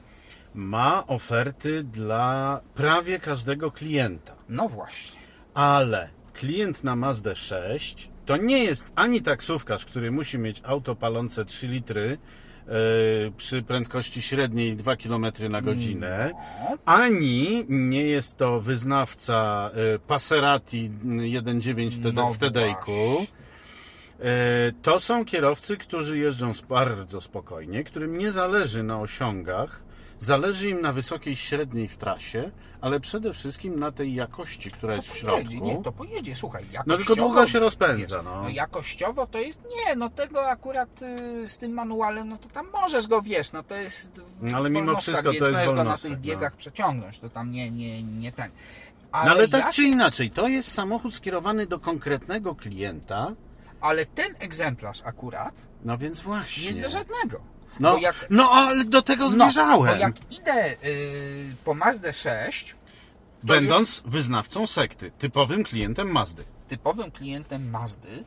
Speaker 1: ma oferty dla prawie każdego klienta.
Speaker 2: No właśnie.
Speaker 1: Ale klient na Mazdę 6 to nie jest ani taksówkarz, który musi mieć auto palące 3 litry e, przy prędkości średniej 2 km na godzinę, ani nie jest to wyznawca e, Passerati 1.9 TD-
Speaker 2: No
Speaker 1: w Tedejku. E, To są kierowcy, którzy jeżdżą sp- bardzo spokojnie, którym nie zależy na osiągach, zależy im na wysokiej średniej w trasie, ale przede wszystkim na tej jakości, która jest w
Speaker 2: Pojedzie, nie,
Speaker 1: środku.
Speaker 2: No to pojedzie, słuchaj.
Speaker 1: No tylko
Speaker 2: jakościowo-
Speaker 1: długo się rozpędza.
Speaker 2: Wiesz,
Speaker 1: No.
Speaker 2: No jakościowo to jest, nie, no tego akurat y, z tym manualem, no to tam możesz go, wiesz, no to jest
Speaker 1: No, ale mimo
Speaker 2: wolnostak,
Speaker 1: wszystko to
Speaker 2: więc
Speaker 1: jest
Speaker 2: możesz go na
Speaker 1: wolnostak,
Speaker 2: tych
Speaker 1: no.
Speaker 2: biegach przeciągnąć, to tam nie, nie, nie ten.
Speaker 1: No ale
Speaker 2: ja
Speaker 1: tak czy inaczej, to jest samochód skierowany do konkretnego klienta,
Speaker 2: Ale ten egzemplarz akurat
Speaker 1: no więc właśnie.
Speaker 2: jest do żadnego.
Speaker 1: No,
Speaker 2: bo jak-
Speaker 1: no ale do tego zmierzałem.
Speaker 2: No, bo jak idę y, po Mazdę 6,
Speaker 1: Będąc wyznawcą sekty, typowym klientem Mazdy.
Speaker 2: typowym klientem Mazdy,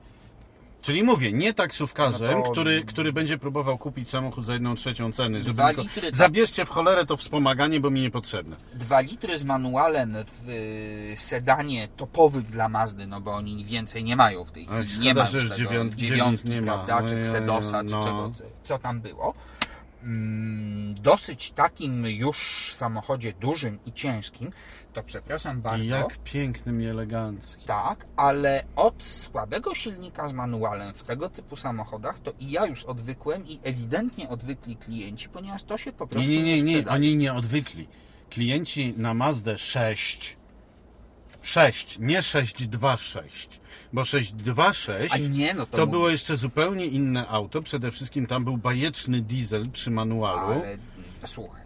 Speaker 1: Czyli mówię, nie taksówkarzem,
Speaker 2: No to-
Speaker 1: który, który będzie próbował kupić samochód za jedną trzecią ceny, żeby
Speaker 2: Dwa
Speaker 1: tylko...
Speaker 2: litry- tak.
Speaker 1: Zabierzcie w cholerę to wspomaganie, bo mi niepotrzebne.
Speaker 2: Dwa litry z manualem w y, sedanie topowym dla Mazdy, no bo oni więcej nie mają w tej
Speaker 1: Ach,
Speaker 2: chwili.
Speaker 1: szkoda,
Speaker 2: nie ma
Speaker 1: że
Speaker 2: już
Speaker 1: już
Speaker 2: tego
Speaker 1: dziewiąt-
Speaker 2: dziewiątki,
Speaker 1: dziewięć nie ma.
Speaker 2: prawda, czy
Speaker 1: Ojej,
Speaker 2: Ksedosa,
Speaker 1: no.
Speaker 2: czy czego, co tam było. Mm, dosyć takim już samochodzie dużym i ciężkim, to przepraszam bardzo.
Speaker 1: I jak pięknym i eleganckim.
Speaker 2: Tak, ale od słabego silnika z manualem w tego typu samochodach to i ja już odwykłem i ewidentnie odwykli klienci, ponieważ to się po
Speaker 1: Nie,
Speaker 2: prostu
Speaker 1: nie, nie, nie,
Speaker 2: sprzedaje.
Speaker 1: oni nie odwykli. Klienci na Mazdę 6, 6, nie 626, bo 626
Speaker 2: A nie, no to
Speaker 1: to
Speaker 2: mówię.
Speaker 1: było jeszcze zupełnie inne auto. Przede wszystkim tam był bajeczny diesel przy manualu.
Speaker 2: Ale słuchaj,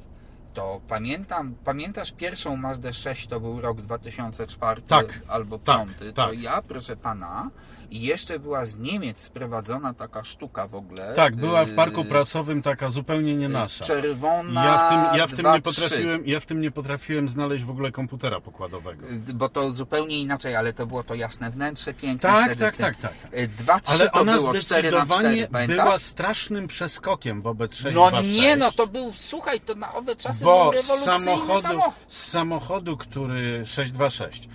Speaker 2: to pamiętam, pamiętasz pierwszą Mazdę 6 to był rok 2004
Speaker 1: Tak,
Speaker 2: albo
Speaker 1: tak,
Speaker 2: 5. To
Speaker 1: tak.
Speaker 2: ja, proszę pana, i jeszcze była z Niemiec sprowadzona taka sztuka w ogóle.
Speaker 1: Tak, była w parku
Speaker 2: yy,
Speaker 1: prasowym taka zupełnie nie nasza.
Speaker 2: Czerwona.
Speaker 1: Ja w tym, ja w tym,
Speaker 2: 2,
Speaker 1: nie, potrafiłem, ja w tym nie potrafiłem znaleźć w ogóle komputera pokładowego.
Speaker 2: Bo to zupełnie inaczej, ale to było to jasne wnętrze piękne.
Speaker 1: Tak,
Speaker 2: wtedy
Speaker 1: tak,
Speaker 2: w tym-
Speaker 1: tak, tak, tak.
Speaker 2: Y, 2, 3
Speaker 1: Ale
Speaker 2: to
Speaker 1: ona
Speaker 2: było 4 na 4,
Speaker 1: zdecydowanie była
Speaker 2: pamiętasz?
Speaker 1: strasznym przeskokiem wobec 6
Speaker 2: No nie, no to był, słuchaj, to na owe czasy
Speaker 1: Bo
Speaker 2: był
Speaker 1: z
Speaker 2: rewolucyjny
Speaker 1: samochodu,
Speaker 2: samochód.
Speaker 1: z samochodu, który 626,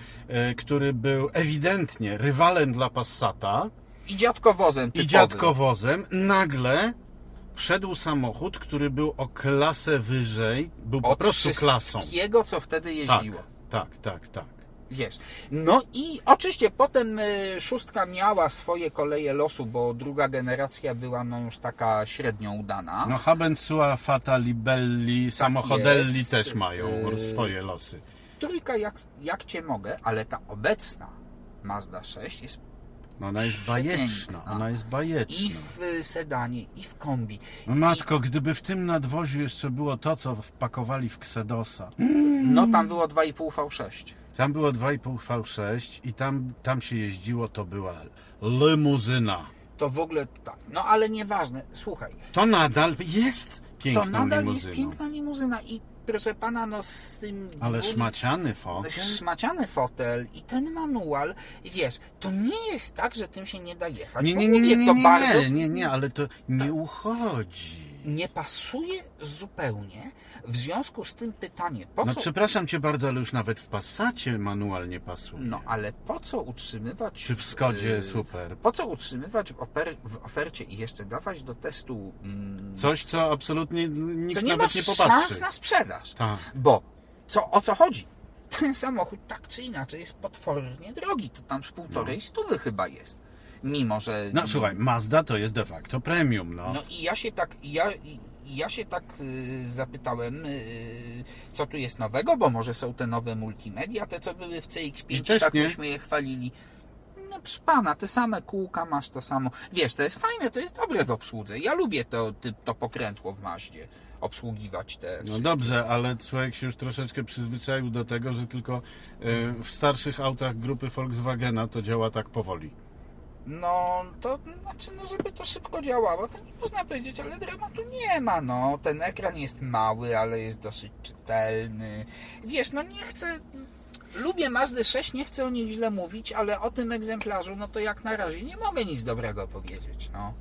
Speaker 1: y, który był ewidentnie rywalem dla Passata
Speaker 2: I dziadkowozem
Speaker 1: i
Speaker 2: typowym.
Speaker 1: dziadkowozem, nagle wszedł samochód, który był o klasę wyżej, był po
Speaker 2: Od
Speaker 1: prostu klasą.
Speaker 2: wszystkiego, co wtedy
Speaker 1: Tak,
Speaker 2: jeździło.
Speaker 1: tak, tak, tak.
Speaker 2: Wiesz. No i oczywiście potem y, szóstka miała swoje koleje losu, bo druga generacja była no już taka średnio udana.
Speaker 1: No Habensua, Fata, Libelli, Samochodelli
Speaker 2: Tak jest.
Speaker 1: też mają
Speaker 2: Yy.
Speaker 1: swoje losy.
Speaker 2: Trójka jak, jak cię mogę, ale ta obecna Mazda 6 jest
Speaker 1: No ona jest bajeczna,
Speaker 2: Przepiękna.
Speaker 1: ona jest
Speaker 2: i
Speaker 1: bajeczna. No,
Speaker 2: w y, sedanie, i w kombi.
Speaker 1: Matko, gdyby w tym nadwoziu jeszcze było to, co wpakowali w Ksedosa.
Speaker 2: No tam było 2,5 V6.
Speaker 1: Tam było 2,5 V6 i tam, tam się jeździło, to była limuzyna.
Speaker 2: To w ogóle tak. No ale nieważne. Słuchaj,
Speaker 1: To nadal jest piękną
Speaker 2: to nadal
Speaker 1: limuzyną.
Speaker 2: jest piękna limuzyna i proszę pana, no z tym...
Speaker 1: Ale
Speaker 2: dwóm-
Speaker 1: szmaciany fotel.
Speaker 2: Szmaciany fotel i ten manual, wiesz, to nie jest tak, że tym się nie da jechać.
Speaker 1: Nie,
Speaker 2: bo
Speaker 1: nie, nie, nie,
Speaker 2: mówię,
Speaker 1: nie,
Speaker 2: to bardzo Tak.
Speaker 1: nie, nie, nie, ale to nie uchodzi.
Speaker 2: nie pasuje zupełnie. W związku z tym pytanie, po
Speaker 1: No
Speaker 2: co...
Speaker 1: przepraszam cię bardzo, ale już nawet w Passacie manual nie pasuje.
Speaker 2: No, ale po co utrzymywać...
Speaker 1: Czy w Skodzie
Speaker 2: y,
Speaker 1: super.
Speaker 2: Po co utrzymywać w oper- w ofercie i jeszcze dawać do testu... Mm,
Speaker 1: Coś, co absolutnie nikt
Speaker 2: co nie
Speaker 1: nawet
Speaker 2: ma
Speaker 1: nie
Speaker 2: szans
Speaker 1: popatrzy.
Speaker 2: na sprzedaż.
Speaker 1: Tak.
Speaker 2: Bo co, o co chodzi? Ten samochód tak czy inaczej jest potwornie drogi. To tam z półtorej stówy chyba jest. Mimo, że...
Speaker 1: No słuchaj, Mazda to jest de facto premium, no.
Speaker 2: No i ja się tak, i ja, i ja się tak y, zapytałem, y, co tu jest nowego, bo może są te nowe multimedia, te co były w
Speaker 1: I
Speaker 2: CX5,
Speaker 1: też
Speaker 2: tak
Speaker 1: nie.
Speaker 2: myśmy je chwalili. No proszę pana, te same kółka masz to samo. Wiesz, to jest fajne, to jest dobre w obsłudze. Ja lubię to, ty- to pokrętło w Maździe, obsługiwać te...
Speaker 1: No dobrze, ale człowiek się już troszeczkę przyzwyczaił do tego, że tylko e, w starszych autach grupy Volkswagena to działa tak powoli.
Speaker 2: No, to znaczy, no żeby to szybko działało, to nie można powiedzieć, ale dramatu nie ma, no. Ten ekran jest mały, ale jest dosyć czytelny. Wiesz, no nie chcę... Lubię Mazdy 6, nie chcę o nich źle mówić, ale o tym egzemplarzu, no to jak na razie nie mogę nic dobrego powiedzieć, no.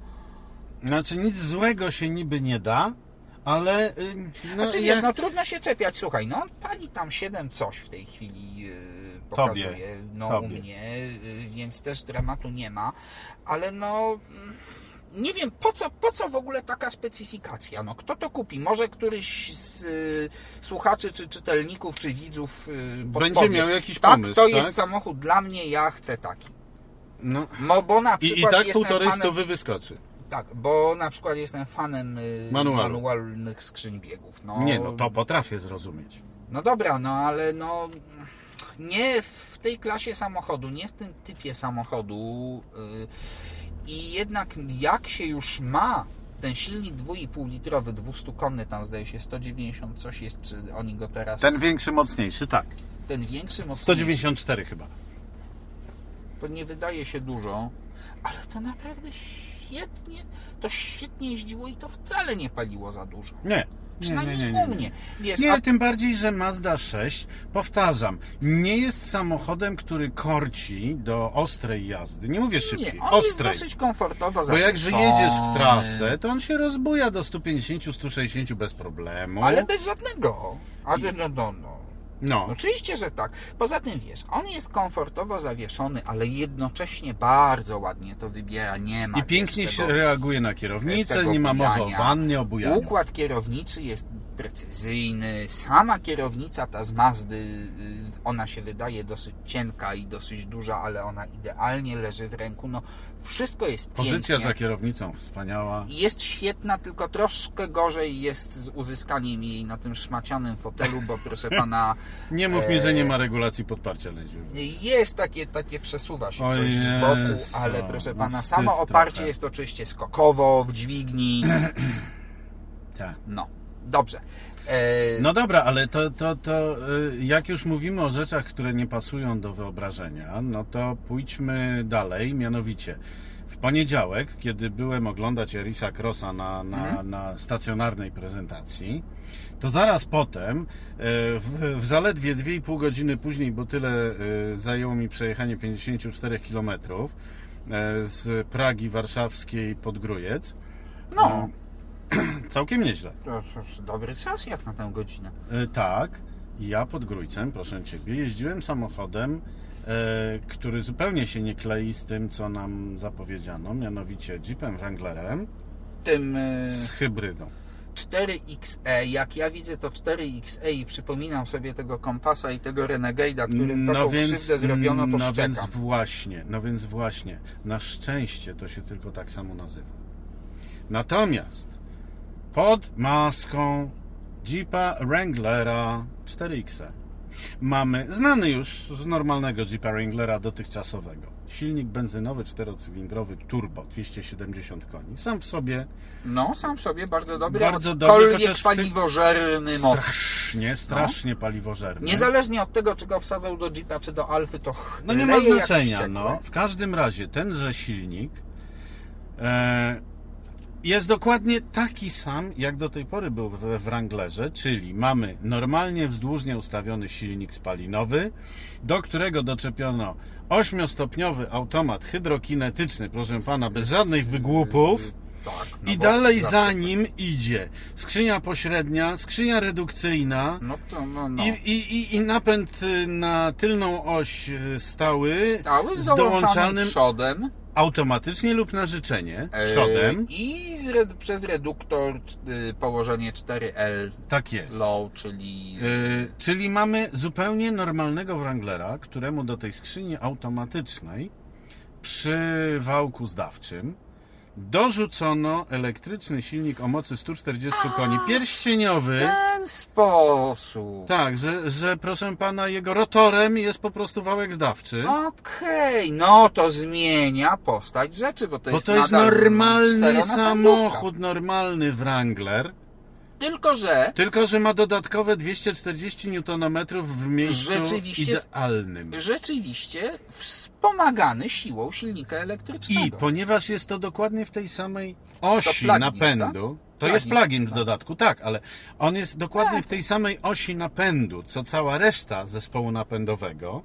Speaker 1: Znaczy nic złego się niby nie da, ale... y, No,
Speaker 2: Znaczy
Speaker 1: jak-
Speaker 2: wiesz, no trudno się czepiać, słuchaj, no on pali tam 7 coś w tej chwili yy,
Speaker 1: Tobie.
Speaker 2: pokazuje, no u
Speaker 1: Tobie.
Speaker 2: mnie, yy, więc też dramatu nie ma, ale no mm, nie wiem, po co, po co w ogóle taka specyfikacja, no kto to kupi, może któryś z yy, słuchaczy, czy czytelników, czy widzów yy, podpowie.
Speaker 1: Będzie miał jakiś
Speaker 2: tak,
Speaker 1: pomysł,
Speaker 2: to
Speaker 1: tak?
Speaker 2: jest samochód dla mnie, ja chcę taki.
Speaker 1: no.
Speaker 2: No, bo na
Speaker 1: I, I
Speaker 2: przykład
Speaker 1: tak
Speaker 2: jestem
Speaker 1: półtorej
Speaker 2: fanem...
Speaker 1: stówy wyskoczy.
Speaker 2: Tak, bo na przykład jestem fanem yy,
Speaker 1: Manualu.
Speaker 2: manualnych skrzyń biegów. No,
Speaker 1: Nie, no to potrafię zrozumieć.
Speaker 2: No dobra, no ale no nie w tej klasie samochodu, nie w tym typie samochodu y, i jednak jak się już ma ten silnik 2,5 litrowy, 200-konny, tam zdaje się 190 coś jest, czy oni go teraz...
Speaker 1: Ten większy, mocniejszy, tak.
Speaker 2: ten większy mocniejszy,
Speaker 1: 194 chyba.
Speaker 2: to nie wydaje się dużo, ale to naprawdę świetnie, to świetnie jeździło i to wcale nie paliło za dużo.
Speaker 1: Nie.
Speaker 2: Przynajmniej
Speaker 1: nie, nie,
Speaker 2: u
Speaker 1: nie.
Speaker 2: mnie. Wiesz,
Speaker 1: Nie,
Speaker 2: a
Speaker 1: tym bardziej, że Mazda 6, powtarzam, nie jest samochodem, który korci do ostrej jazdy. Nie mówię szybkiej,
Speaker 2: nie, on jest
Speaker 1: ostrej.
Speaker 2: dosyć komfortowo
Speaker 1: Bo jak
Speaker 2: zawieszony.
Speaker 1: wyjedziesz w trasę, to on się rozbuja do 150-160 bez problemu.
Speaker 2: Ale bez żadnego. A no, no, no, no.
Speaker 1: No,
Speaker 2: Oczywiście, że tak. Poza tym wiesz, on jest komfortowo zawieszony, ale jednocześnie bardzo ładnie to wybiera. Nie ma
Speaker 1: i
Speaker 2: wiesz,
Speaker 1: pięknie się
Speaker 2: tego-
Speaker 1: reaguje na
Speaker 2: tego
Speaker 1: kierownicę, nie ma mowy o
Speaker 2: bujania.
Speaker 1: wannie, o bujaniu.
Speaker 2: Układ kierowniczy jest precyzyjny. Sama kierownica ta z Mazdy, y, ona się wydaje dosyć cienka i dosyć duża, ale ona idealnie leży w ręku. No, wszystko jest
Speaker 1: Pozycja
Speaker 2: pięknie.
Speaker 1: za kierownicą, wspaniała.
Speaker 2: Jest świetna, tylko troszkę gorzej jest z uzyskaniem jej na tym szmacianym fotelu, bo proszę pana,
Speaker 1: Nie mów mi, że nie ma regulacji podparcia lędźwiowego.
Speaker 2: jest takie, takie przesuwa się
Speaker 1: O
Speaker 2: coś z
Speaker 1: Jezu,
Speaker 2: boku, ale proszę
Speaker 1: no
Speaker 2: pana,
Speaker 1: wstyd
Speaker 2: samo oparcie
Speaker 1: trochę.
Speaker 2: jest oczywiście skokowo, w dźwigni.
Speaker 1: Tak.
Speaker 2: No, dobrze. E,
Speaker 1: No dobra, ale to, to, to y, jak już mówimy o rzeczach, które nie pasują do wyobrażenia, no to pójdźmy dalej, mianowicie w poniedziałek, kiedy byłem oglądać Erisa Crossa na, na, na stacjonarnej prezentacji, to zaraz potem, y, w, w zaledwie 2,5 godziny później, bo tyle y, zajęło mi przejechanie 54 km y, z Pragi warszawskiej pod Grójec,
Speaker 2: no,
Speaker 1: całkiem nieźle.
Speaker 2: to cóż, dobry czas jak na tę godzinę.
Speaker 1: E, Tak, ja pod Grójcem, proszę Ciebie, jeździłem samochodem, e, który zupełnie się nie klei z tym, co nam zapowiedziano, mianowicie Jeepem Wranglerem
Speaker 2: Tym e,
Speaker 1: z hybrydą.
Speaker 2: 4XE, jak ja widzę to 4XE i przypominam sobie tego kompasa i tego Renegade'a, którym taką
Speaker 1: No więc,
Speaker 2: krzywdę zrobiono, to
Speaker 1: no więc
Speaker 2: szczekam.
Speaker 1: właśnie, no więc właśnie, na szczęście to się tylko tak samo nazywa. Natomiast pod maską Jeepa Wranglera 4X mamy znany już z normalnego Jeepa Wranglera dotychczasowego. Silnik benzynowy czterocylindrowy turbo 270 koni. Sam w sobie
Speaker 2: No, sam w sobie bardzo dobry,
Speaker 1: Bardzo dobry,
Speaker 2: aczkolwiek
Speaker 1: chociaż w tym-
Speaker 2: paliwożerny moc. No.
Speaker 1: strasznie, strasznie paliwożerny.
Speaker 2: Niezależnie od tego, czy go wsadzał do Jeepa, czy do Alfy, to
Speaker 1: No nie ma
Speaker 2: chleje jak
Speaker 1: znaczenia,
Speaker 2: wściekłe.
Speaker 1: no. W każdym razie tenże silnik e, jest dokładnie taki sam, jak do tej pory był we Wranglerze, czyli mamy normalnie wzdłużnie ustawiony silnik spalinowy, do którego doczepiono ośmiostopniowy automat hydrokinetyczny, proszę pana, bez żadnych wygłupów.
Speaker 2: Tak, no
Speaker 1: I
Speaker 2: bo
Speaker 1: dalej
Speaker 2: zawsze
Speaker 1: za
Speaker 2: tak.
Speaker 1: nim idzie skrzynia pośrednia, skrzynia redukcyjna,
Speaker 2: No to, no, no.
Speaker 1: i, i, i, I napęd y, na tylną oś y, stały,
Speaker 2: Stały z dołączanym przodem.
Speaker 1: automatycznie lub na życzenie
Speaker 2: e,
Speaker 1: przodem.
Speaker 2: I z, red- przez reduktor cz- y, położenie 4L
Speaker 1: Tak jest.
Speaker 2: low, czyli...
Speaker 1: Y, czyli mamy zupełnie normalnego Wranglera, któremu do tej skrzyni automatycznej przy wałku zdawczym dorzucono elektryczny silnik o mocy 140 koni pierścieniowy.
Speaker 2: ten sposób.
Speaker 1: Tak, że, że proszę pana, jego rotorem jest po prostu wałek zdawczy.
Speaker 2: Okej, no to zmienia postać rzeczy, bo to
Speaker 1: Bo
Speaker 2: jest
Speaker 1: to jest
Speaker 2: nadal
Speaker 1: normalny
Speaker 2: czteronapędówka.
Speaker 1: samochód, normalny Wrangler,
Speaker 2: Tylko, że
Speaker 1: tylko że ma dodatkowe 240 Nm w miejscu
Speaker 2: Rzeczywiście-
Speaker 1: idealnym.
Speaker 2: rzeczywiście wspomagany siłą silnika elektrycznego.
Speaker 1: I ponieważ jest to dokładnie w tej samej osi
Speaker 2: plugin,
Speaker 1: napędu, to
Speaker 2: Plugin,
Speaker 1: jest plugin w
Speaker 2: tak.
Speaker 1: dodatku, tak, ale on jest dokładnie
Speaker 2: Tak.
Speaker 1: w tej samej osi napędu, co cała reszta zespołu napędowego,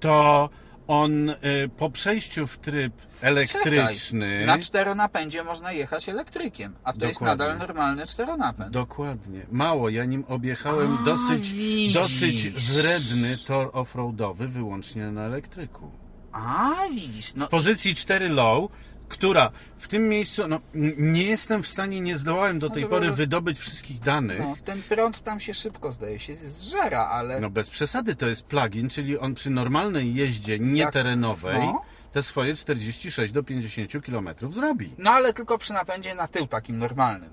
Speaker 1: to on y, po przejściu w tryb elektryczny...
Speaker 2: Czekaj, na czteronapędzie można jechać elektrykiem, a to jest
Speaker 1: Dokładnie.
Speaker 2: nadal normalny czteronapęd.
Speaker 1: Dokładnie. Mało. Ja nim objechałem
Speaker 2: A,
Speaker 1: dosyć,
Speaker 2: widzisz.
Speaker 1: dosyć wredny tor offroadowy wyłącznie na elektryku.
Speaker 2: A, widzisz, no
Speaker 1: W pozycji 4 low, która w tym miejscu, no n- nie jestem w stanie, nie zdołałem do tej
Speaker 2: żeby-
Speaker 1: pory wydobyć wszystkich danych.
Speaker 2: No,
Speaker 1: No.
Speaker 2: ten prąd tam się szybko zdaje się zżera, ale
Speaker 1: bez przesady, to jest plugin, czyli on przy normalnej jeździe nieterenowej
Speaker 2: no.
Speaker 1: te swoje 46 do 50 km zrobi.
Speaker 2: no ale tylko przy napędzie na tył takim normalnym.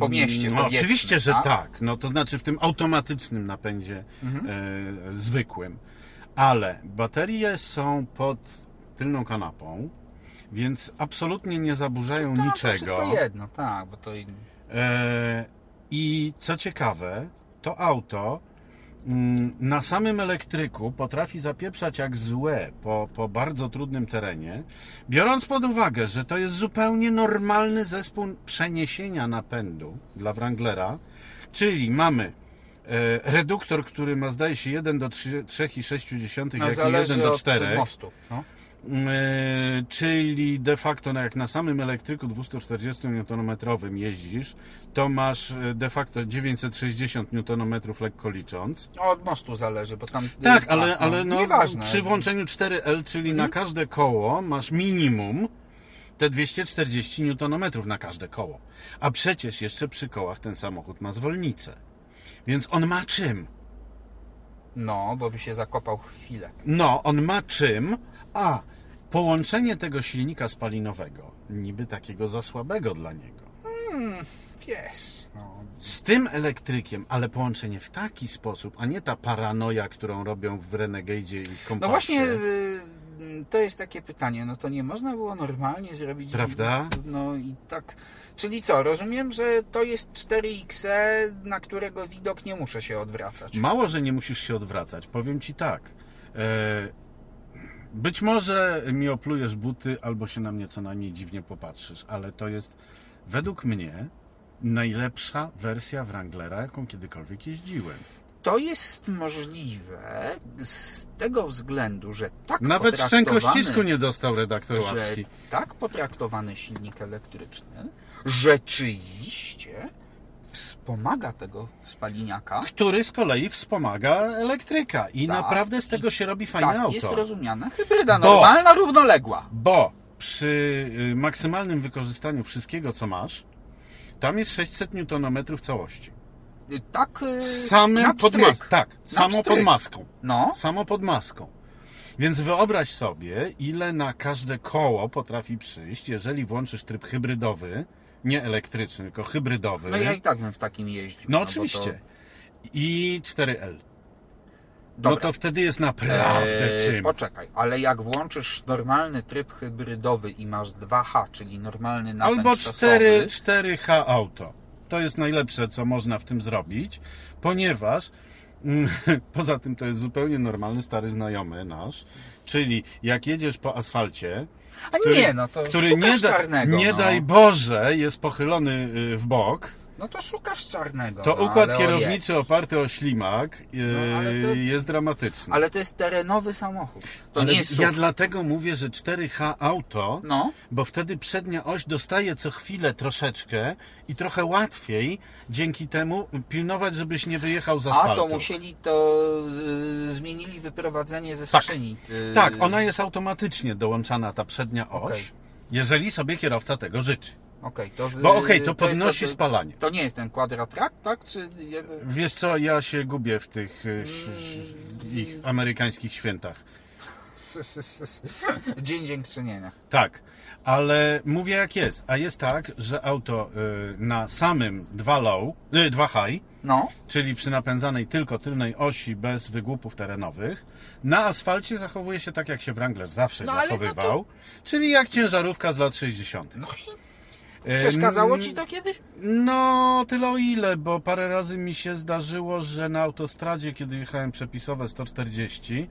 Speaker 2: Po mieście.
Speaker 1: No,
Speaker 2: powiedzmy,
Speaker 1: oczywiście, że
Speaker 2: tak?
Speaker 1: tak. No to znaczy w tym automatycznym napędzie
Speaker 2: Mhm.
Speaker 1: e, zwykłym. Ale baterie są pod tylną kanapą, więc absolutnie nie zaburzają
Speaker 2: No, To
Speaker 1: niczego.
Speaker 2: wszystko jedno, tak, bo to i-
Speaker 1: E, I co ciekawe, to auto mm, na samym elektryku potrafi zapieprzać jak złe po, po bardzo trudnym terenie, biorąc pod uwagę, że to jest zupełnie normalny zespół przeniesienia napędu dla Wranglera, Czyli mamy e, reduktor, który ma zdaje się 1 do 3, 3,6,
Speaker 2: No,
Speaker 1: jak nie 1
Speaker 2: zależy
Speaker 1: do
Speaker 2: od
Speaker 1: 4.
Speaker 2: mostu. No.
Speaker 1: Yy, czyli de facto no jak na samym elektryku 240 Nm jeździsz, to masz yy, de facto 960 Nm lekko licząc.
Speaker 2: No, Od mostu zależy, bo tam...
Speaker 1: Tak, ale, ale no,
Speaker 2: Nieważne.
Speaker 1: przy włączeniu 4L, czyli na każde koło masz minimum te 240 Nm na każde koło. A przecież jeszcze przy kołach ten samochód ma zwolnicę. Więc on ma czym?
Speaker 2: No, bo by się zakopał chwilę.
Speaker 1: No, on ma czym, a połączenie tego silnika spalinowego, niby takiego za słabego dla niego,
Speaker 2: Pies. No.
Speaker 1: z tym elektrykiem, ale połączenie w taki sposób, a nie ta paranoja, którą robią w Renegadzie i w Kompassie.
Speaker 2: No właśnie y, to jest takie pytanie, no to nie można było normalnie zrobić.
Speaker 1: Prawda?
Speaker 2: No i tak. Czyli co, rozumiem, że to jest 4X, na którego widok nie muszę się odwracać.
Speaker 1: Mało, że nie musisz się odwracać. Powiem ci tak. E, być może mi oplujesz buty, albo się na mnie co najmniej dziwnie popatrzysz, ale to jest według mnie najlepsza wersja Wranglera, jaką kiedykolwiek jeździłem.
Speaker 2: To jest możliwe z tego względu, że tak
Speaker 1: Nawet szczęko
Speaker 2: potraktowany-
Speaker 1: ścisku nie dostał redaktor
Speaker 2: że
Speaker 1: Ławski.
Speaker 2: tak potraktowany silnik elektryczny rzeczywiście wspomaga tego spaliniaka.
Speaker 1: Który z kolei wspomaga elektryka. I
Speaker 2: Tak.
Speaker 1: naprawdę z tego się robi fajne
Speaker 2: Tak,
Speaker 1: auto.
Speaker 2: jest rozumiana hybryda
Speaker 1: Bo-
Speaker 2: normalna, równoległa.
Speaker 1: Bo przy y, maksymalnym wykorzystaniu wszystkiego, co masz, tam jest 600 Nm całości.
Speaker 2: Y, Tak. y, na
Speaker 1: Samym pod
Speaker 2: pstryk.
Speaker 1: mas- Tak, samo
Speaker 2: pstryk.
Speaker 1: pod maską.
Speaker 2: No,
Speaker 1: Samo pod maską. Więc wyobraź sobie, ile na każde koło potrafi przyjść, jeżeli włączysz tryb hybrydowy, nie elektryczny, tylko hybrydowy.
Speaker 2: no ja i tak bym w takim jeździł.
Speaker 1: No
Speaker 2: bo
Speaker 1: oczywiście. I 4L.
Speaker 2: To...
Speaker 1: No to wtedy jest naprawdę
Speaker 2: Eee,
Speaker 1: czym.
Speaker 2: Poczekaj, ale jak włączysz normalny tryb hybrydowy i masz 2H, czyli normalny napęd
Speaker 1: Albo
Speaker 2: szosowy,
Speaker 1: 4, 4H auto. To jest najlepsze, co można w tym zrobić, ponieważ mm, poza tym to jest zupełnie normalny stary znajomy nasz, czyli jak jedziesz po asfalcie,
Speaker 2: A
Speaker 1: który,
Speaker 2: nie, no to
Speaker 1: który
Speaker 2: szukasz
Speaker 1: nie, da,
Speaker 2: czarnego.
Speaker 1: nie
Speaker 2: no.
Speaker 1: daj Boże jest pochylony y, w bok,
Speaker 2: no to szukasz czarnego.
Speaker 1: to
Speaker 2: no, ale
Speaker 1: układ
Speaker 2: on
Speaker 1: kierownicy
Speaker 2: jest.
Speaker 1: oparty o ślimak y,
Speaker 2: No, ale to-
Speaker 1: jest dramatyczny.
Speaker 2: Ale to jest terenowy samochód. To
Speaker 1: Ale
Speaker 2: nie jest
Speaker 1: ja
Speaker 2: SUV.
Speaker 1: dlatego mówię, że 4H auto
Speaker 2: No,
Speaker 1: bo wtedy przednia oś dostaje co chwilę troszeczkę i trochę łatwiej dzięki temu pilnować, żebyś nie wyjechał z
Speaker 2: a
Speaker 1: asfaltu.
Speaker 2: to musieli to y, zmienili wyprowadzenie ze
Speaker 1: Tak.
Speaker 2: skrzyni. y,
Speaker 1: Tak, ona jest automatycznie dołączana, ta przednia oś,
Speaker 2: Okej.
Speaker 1: jeżeli sobie kierowca tego życzy.
Speaker 2: Okej, Y, to z-
Speaker 1: Bo okej, to
Speaker 2: jest
Speaker 1: podnosi
Speaker 2: to-
Speaker 1: spalanie.
Speaker 2: To nie jest ten kwadratrak, tak? Czy jeden-
Speaker 1: Wiesz co, ja się gubię w tych y, ś-
Speaker 2: Mm.
Speaker 1: ś- ich amerykańskich świętach.
Speaker 2: dzień dziękczynienia?
Speaker 1: Tak, ale mówię jak jest. A jest tak, że auto y, na samym 2 low, y, 2 high,
Speaker 2: No,
Speaker 1: czyli przy napędzanej tylko tylnej osi bez wygłupów terenowych, na asfalcie zachowuje się tak, jak się Wrangler zawsze
Speaker 2: No, ale no
Speaker 1: zachowywał, czyli jak ciężarówka z lat 60.
Speaker 2: no i przeszkadzało
Speaker 1: Em,
Speaker 2: ci to kiedyś?
Speaker 1: No, tyle o ile, bo parę razy mi się zdarzyło, że na autostradzie, kiedy jechałem przepisowe 140,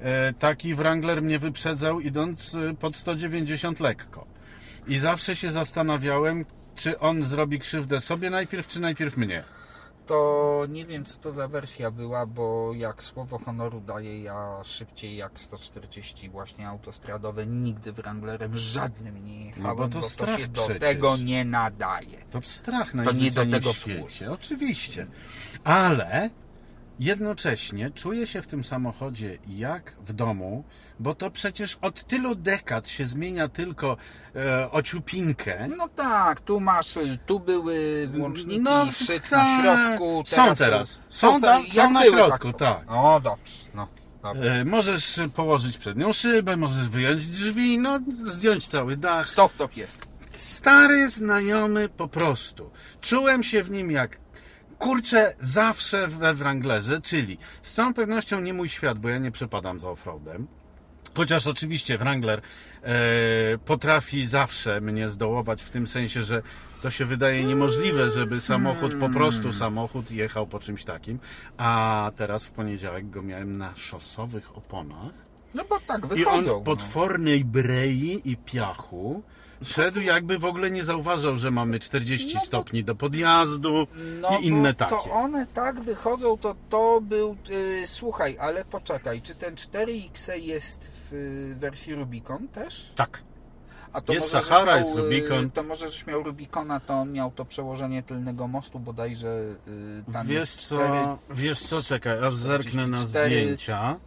Speaker 1: e, taki Wrangler mnie wyprzedzał idąc e, pod 190 lekko. I zawsze się zastanawiałem, czy on zrobi krzywdę sobie najpierw, czy najpierw mnie.
Speaker 2: To nie wiem, co to za wersja była, bo jak słowo honoru daję, ja szybciej jak 140 właśnie autostradowe nigdy Wranglerem żadnym nie jechałem,
Speaker 1: No bo to strach
Speaker 2: się do
Speaker 1: przecież.
Speaker 2: tego nie nadaje.
Speaker 1: To strach
Speaker 2: do
Speaker 1: najzwyczajniej
Speaker 2: tego
Speaker 1: w świecie. Oczywiście. Ale jednocześnie czuję się w tym samochodzie jak w domu, bo to przecież od tylu dekad się zmienia tylko e, ociupinkę.
Speaker 2: No tak, tu masz, y, tu były włączniki,
Speaker 1: No,
Speaker 2: szyk na
Speaker 1: tak.
Speaker 2: środku.
Speaker 1: Są
Speaker 2: teraz
Speaker 1: teraz.
Speaker 2: Są,
Speaker 1: Są
Speaker 2: co-
Speaker 1: tam-
Speaker 2: jak
Speaker 1: są na
Speaker 2: były,
Speaker 1: środku,
Speaker 2: są.
Speaker 1: tak.
Speaker 2: O, dobrze, no. Dobra.
Speaker 1: E, możesz położyć przednią szybę, możesz wyjąć drzwi, no zdjąć cały dach.
Speaker 2: Softop jest.
Speaker 1: Stary znajomy po prostu. Czułem się w nim jak kurczę zawsze we Wranglerze, czyli z całą pewnością nie mój świat, bo ja nie przepadam za offroadem. Chociaż oczywiście Wrangler e, potrafi zawsze mnie zdołować w tym sensie, że to się wydaje niemożliwe, żeby samochód, po prostu samochód jechał po czymś takim. A teraz w poniedziałek go miałem na szosowych oponach
Speaker 2: No bo tak
Speaker 1: I on
Speaker 2: wychodzą.
Speaker 1: w potwornej brei i piachu szedł jakby w ogóle nie zauważał, że mamy 40 stopni do podjazdu
Speaker 2: no. No
Speaker 1: i inne
Speaker 2: bo
Speaker 1: takie.
Speaker 2: To one tak wychodzą, to to był... y, słuchaj, ale poczekaj, czy ten 4XE jest w y, wersji Rubicon też?
Speaker 1: Tak.
Speaker 2: A to
Speaker 1: Jest
Speaker 2: może, żeś
Speaker 1: Sahara,
Speaker 2: miał,
Speaker 1: jest
Speaker 2: y,
Speaker 1: Rubicon.
Speaker 2: To może, żeś miał Rubicona, to on miał to przełożenie tylnego mostu bodajże y, tam
Speaker 1: Wiesz
Speaker 2: jest cztery,
Speaker 1: co, wiesz co, czekaj, aż zerknę na
Speaker 2: 44.
Speaker 1: zdjęcia.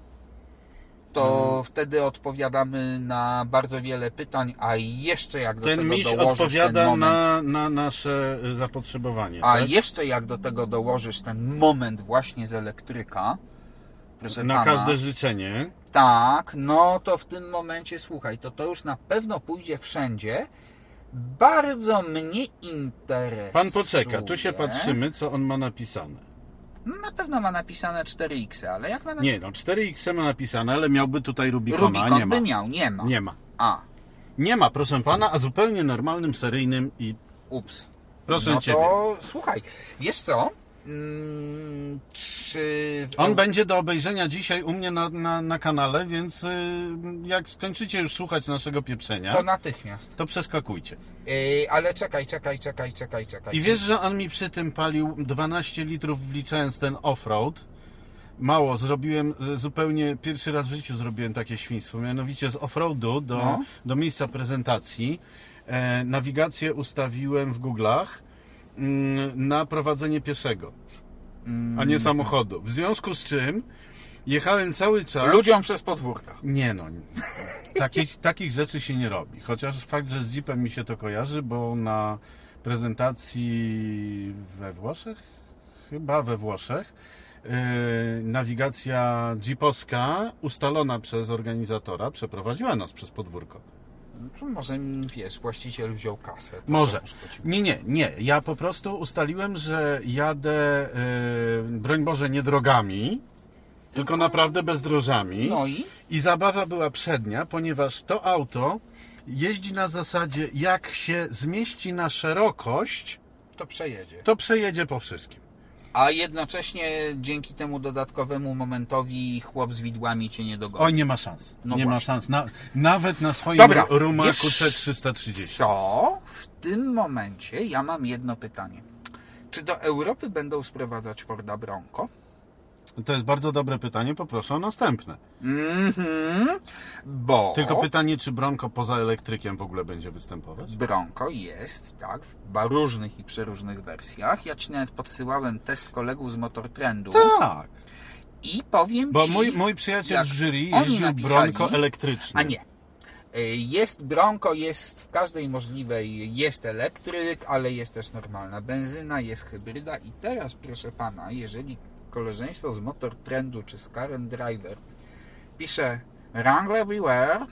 Speaker 2: to
Speaker 1: Mhm.
Speaker 2: wtedy odpowiadamy na bardzo wiele pytań, a jeszcze jak do
Speaker 1: Ten
Speaker 2: tego
Speaker 1: miś
Speaker 2: dołożysz ten
Speaker 1: odpowiada
Speaker 2: moment,
Speaker 1: na, na nasze y, zapotrzebowanie.
Speaker 2: a
Speaker 1: tak?
Speaker 2: jeszcze jak do tego dołożysz ten moment właśnie z elektryka, proszę
Speaker 1: Na
Speaker 2: pana,
Speaker 1: każde życzenie.
Speaker 2: tak, no to w tym momencie słuchaj, to to już na pewno pójdzie wszędzie. Bardzo mnie interesuje.
Speaker 1: Pan poczeka, tu się patrzymy, co on ma napisane.
Speaker 2: No na pewno ma napisane 4X, ale jak ma napisane...
Speaker 1: Nie, no 4X ma napisane, ale miałby tutaj Rubicona, a
Speaker 2: Rubikon
Speaker 1: nie ma.
Speaker 2: by miał, nie ma.
Speaker 1: Nie ma.
Speaker 2: A,
Speaker 1: Nie ma, proszę pana, a zupełnie normalnym, seryjnym i
Speaker 2: ups.
Speaker 1: proszę
Speaker 2: no
Speaker 1: ciebie.
Speaker 2: to słuchaj, wiesz co? Mm, czy...
Speaker 1: On będzie do obejrzenia dzisiaj u mnie na, na, na kanale, więc y, jak skończycie już słuchać naszego pieprzenia,
Speaker 2: To natychmiast.
Speaker 1: to przeskakujcie.
Speaker 2: Yy, ale czekaj, czekaj, czekaj, czekaj, czekaj.
Speaker 1: I wiesz, że on mi przy tym palił 12 litrów wliczając ten offroad. Mało, zrobiłem e, zupełnie, pierwszy raz w życiu zrobiłem takie świństwo, mianowicie z offroadu do,
Speaker 2: No.
Speaker 1: do miejsca prezentacji. E, nawigację ustawiłem w Google'ach mm, na prowadzenie pieszego, a nie samochodu. W związku z czym jechałem cały czas...
Speaker 2: Ludziom przez podwórka.
Speaker 1: Nie no, takich, takich rzeczy się nie robi. Chociaż fakt, że z Jeepem mi się to kojarzy, bo na prezentacji we Włoszech, chyba we Włoszech, yy, nawigacja Jeepowska ustalona przez organizatora przeprowadziła nas przez podwórko.
Speaker 2: To Może, wiesz, właściciel wziął kasę. to
Speaker 1: Może.
Speaker 2: co mu szkodziło.
Speaker 1: Nie, nie, nie. Ja po prostu ustaliłem, że jadę, yy, broń Boże, nie drogami, tylko naprawdę bezdrożami.
Speaker 2: No i?
Speaker 1: I zabawa była przednia, ponieważ to auto jeździ na zasadzie, jak się zmieści na szerokość,
Speaker 2: To przejedzie.
Speaker 1: to przejedzie po wszystkim.
Speaker 2: A jednocześnie dzięki temu dodatkowemu momentowi chłop z widłami cię nie dogoni.
Speaker 1: Oj, nie ma szans.
Speaker 2: No
Speaker 1: nie ma
Speaker 2: właśnie.
Speaker 1: szans. Na, nawet na swoim
Speaker 2: Dobra,
Speaker 1: ru- rumaku
Speaker 2: wiesz
Speaker 1: C330.
Speaker 2: Co? W tym momencie ja mam jedno pytanie. Czy do Europy będą sprowadzać Forda Bronco?
Speaker 1: To jest bardzo dobre pytanie, poproszę o następne.
Speaker 2: Mhm, bo
Speaker 1: Tylko pytanie, czy Bronco poza elektrykiem w ogóle będzie występować?
Speaker 2: Bronco jest, tak, w ba- różnych i przeróżnych wersjach. Ja ci nawet podsyłałem test kolegów z Motortrendu
Speaker 1: Tak,
Speaker 2: i powiem
Speaker 1: bo
Speaker 2: Mm. ci...
Speaker 1: mój, mój przyjaciel
Speaker 2: jak
Speaker 1: z jury
Speaker 2: oni
Speaker 1: jeździł
Speaker 2: napisali-
Speaker 1: Bronco elektrycznym.
Speaker 2: A nie. Y, Jest Bronco, jest w każdej możliwej, jest elektryk, ale jest też normalna benzyna, jest hybryda i teraz proszę pana, jeżeli koleżeństwo z Motor Trendu czy z Current Driver pisze Wrangler Beware,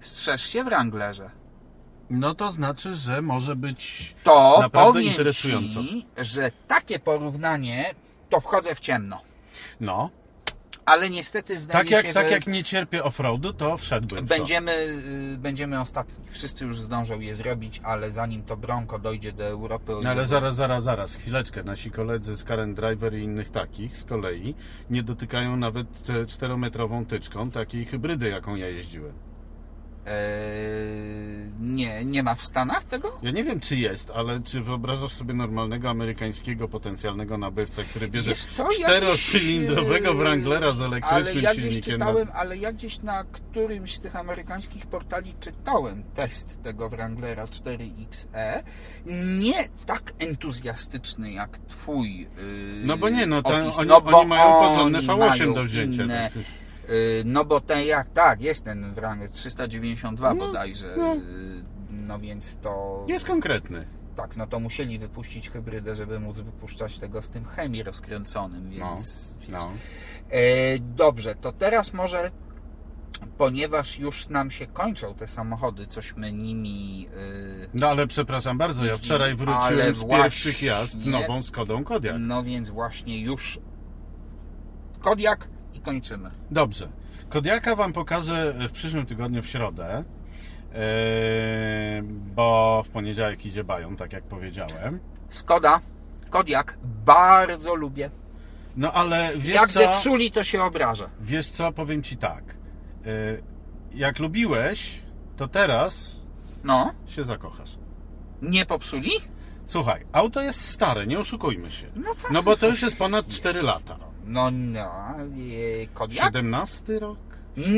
Speaker 2: strzeż się Wranglerze.
Speaker 1: No to znaczy, że może być
Speaker 2: To
Speaker 1: Naprawdę
Speaker 2: powiem
Speaker 1: interesująco.
Speaker 2: ci, że takie porównanie to wchodzę w ciemno.
Speaker 1: no,
Speaker 2: Ale niestety zdaje
Speaker 1: Tak jak,
Speaker 2: się,
Speaker 1: tak
Speaker 2: że
Speaker 1: jak nie cierpię offroadu, to wszedłbym w to.
Speaker 2: Będziemy, y, będziemy ostatni. Wszyscy już zdążą je zrobić, ale zanim to Bronco dojdzie do Europy... y,
Speaker 1: No ale zaraz, zaraz, zaraz, chwileczkę. Nasi koledzy z Karen Driver i innych takich z kolei nie dotykają nawet e, czterometrową tyczką takiej hybrydy, jaką ja jeździłem.
Speaker 2: Eee, nie, nie ma w Stanach tego?
Speaker 1: Ja nie wiem, czy jest, ale czy wyobrażasz sobie normalnego amerykańskiego potencjalnego nabywcę, który bierze
Speaker 2: Wiesz co, ja gdzieś,
Speaker 1: czterocylindrowego
Speaker 2: yy,
Speaker 1: Wranglera z
Speaker 2: Ale
Speaker 1: elektrycznym
Speaker 2: ja gdzieś
Speaker 1: silnikiem? no.
Speaker 2: czytałem,
Speaker 1: na...
Speaker 2: ale ja gdzieś na którymś z tych amerykańskich portali czytałem test tego Wranglera 4XE. Nie tak entuzjastyczny jak twój. Yy,
Speaker 1: No bo nie, no, tam
Speaker 2: opis,
Speaker 1: oni-
Speaker 2: no bo
Speaker 1: oni mają porządny
Speaker 2: oni
Speaker 1: V8 do
Speaker 2: mają
Speaker 1: wzięcia,
Speaker 2: Inne,
Speaker 1: tak.
Speaker 2: yy, no bo ten jak, tak, jest ten Wrangler 392
Speaker 1: No,
Speaker 2: bodajże.
Speaker 1: no.
Speaker 2: yy, No więc to...
Speaker 1: Jest konkretny.
Speaker 2: Tak, no to musieli wypuścić hybrydę, żeby móc wypuszczać tego z tym chemii rozkręconym,
Speaker 1: No,
Speaker 2: więc...
Speaker 1: no.
Speaker 2: E, dobrze, to teraz może, ponieważ już nam się kończą te samochody, cośmy nimi... e,
Speaker 1: No ale przepraszam bardzo, ja wczoraj
Speaker 2: Ale
Speaker 1: wróciłem z
Speaker 2: właśnie-
Speaker 1: pierwszych jazd nową Skodą Kodiaq.
Speaker 2: no więc właśnie już Kodiak i kończymy.
Speaker 1: Dobrze. Kodiaka Wam pokażę w przyszłym tygodniu w środę, yy, bo w poniedziałek idzie bają, tak jak powiedziałem.
Speaker 2: Skoda, Kodiak, bardzo lubię.
Speaker 1: No ale wiesz
Speaker 2: Jak
Speaker 1: co,
Speaker 2: zepsuli, to się obrażę.
Speaker 1: wiesz co, powiem Ci tak. y, jak lubiłeś, to teraz
Speaker 2: No,
Speaker 1: się zakochasz.
Speaker 2: nie popsuli?
Speaker 1: Słuchaj, auto jest stare, nie oszukujmy się.
Speaker 2: No tak.
Speaker 1: No bo to już jest ponad 4 lata.
Speaker 2: No, no, e, Kodiak?
Speaker 1: 17 rok?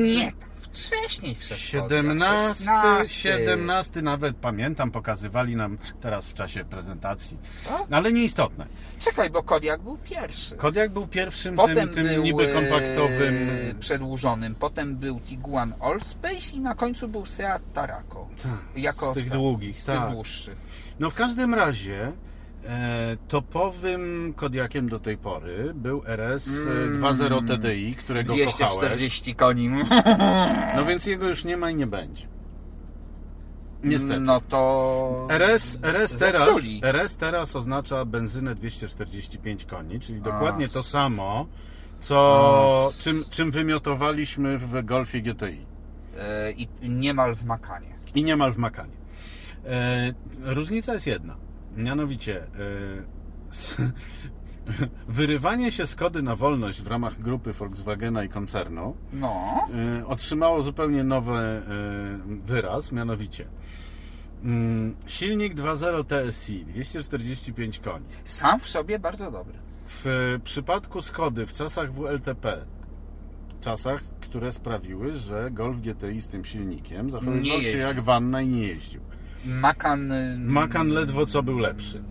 Speaker 2: Nie, wcześniej wszedł Kodiak,
Speaker 1: 17,
Speaker 2: 16.
Speaker 1: 17 nawet pamiętam, pokazywali nam teraz w czasie prezentacji.
Speaker 2: Tak?
Speaker 1: No, ale nieistotne.
Speaker 2: Czekaj, bo Kodiak był pierwszy.
Speaker 1: Kodiak był pierwszym
Speaker 2: Potem
Speaker 1: tym, tym
Speaker 2: był
Speaker 1: niby
Speaker 2: e,
Speaker 1: kompaktowym.
Speaker 2: przedłużonym, potem był Tiguan All Space i na końcu był Seat Tarako. jako
Speaker 1: Tak, z tych
Speaker 2: ostat-
Speaker 1: długich,
Speaker 2: z tych
Speaker 1: tak.
Speaker 2: dłuższych.
Speaker 1: No w każdym razie e, topowym Kodiakiem do tej pory był e, RS
Speaker 2: Mm.
Speaker 1: 2.0 TDI, którego kochałeś.
Speaker 2: 240 koni.
Speaker 1: No więc jego już nie ma i nie będzie. Niestety.
Speaker 2: No to...
Speaker 1: RS, RS, teraz,
Speaker 2: Zepsuli.
Speaker 1: RS teraz oznacza benzynę 245 koni, czyli dokładnie
Speaker 2: A.
Speaker 1: to samo, co czym, czym wymiotowaliśmy w Golfie GTI.
Speaker 2: E, I niemal w Makanie.
Speaker 1: I niemal w makanie. E, różnica jest jedna. Mianowicie e, s, wyrywanie się Skody na wolność w ramach grupy Volkswagena i koncernu
Speaker 2: No.
Speaker 1: e, otrzymało zupełnie nowy e, wyraz, mianowicie mm, silnik 2.0 TSI 245 koni.
Speaker 2: Sam w sobie bardzo dobry.
Speaker 1: W przypadku Skody w czasach WLTP, czasach, które sprawiły, że Golf GTI z tym silnikiem zachowywał
Speaker 2: Nie
Speaker 1: się
Speaker 2: jeździł.
Speaker 1: jak wanna i nie jeździł.
Speaker 2: Makan... y,
Speaker 1: Makan ledwo co był lepszy.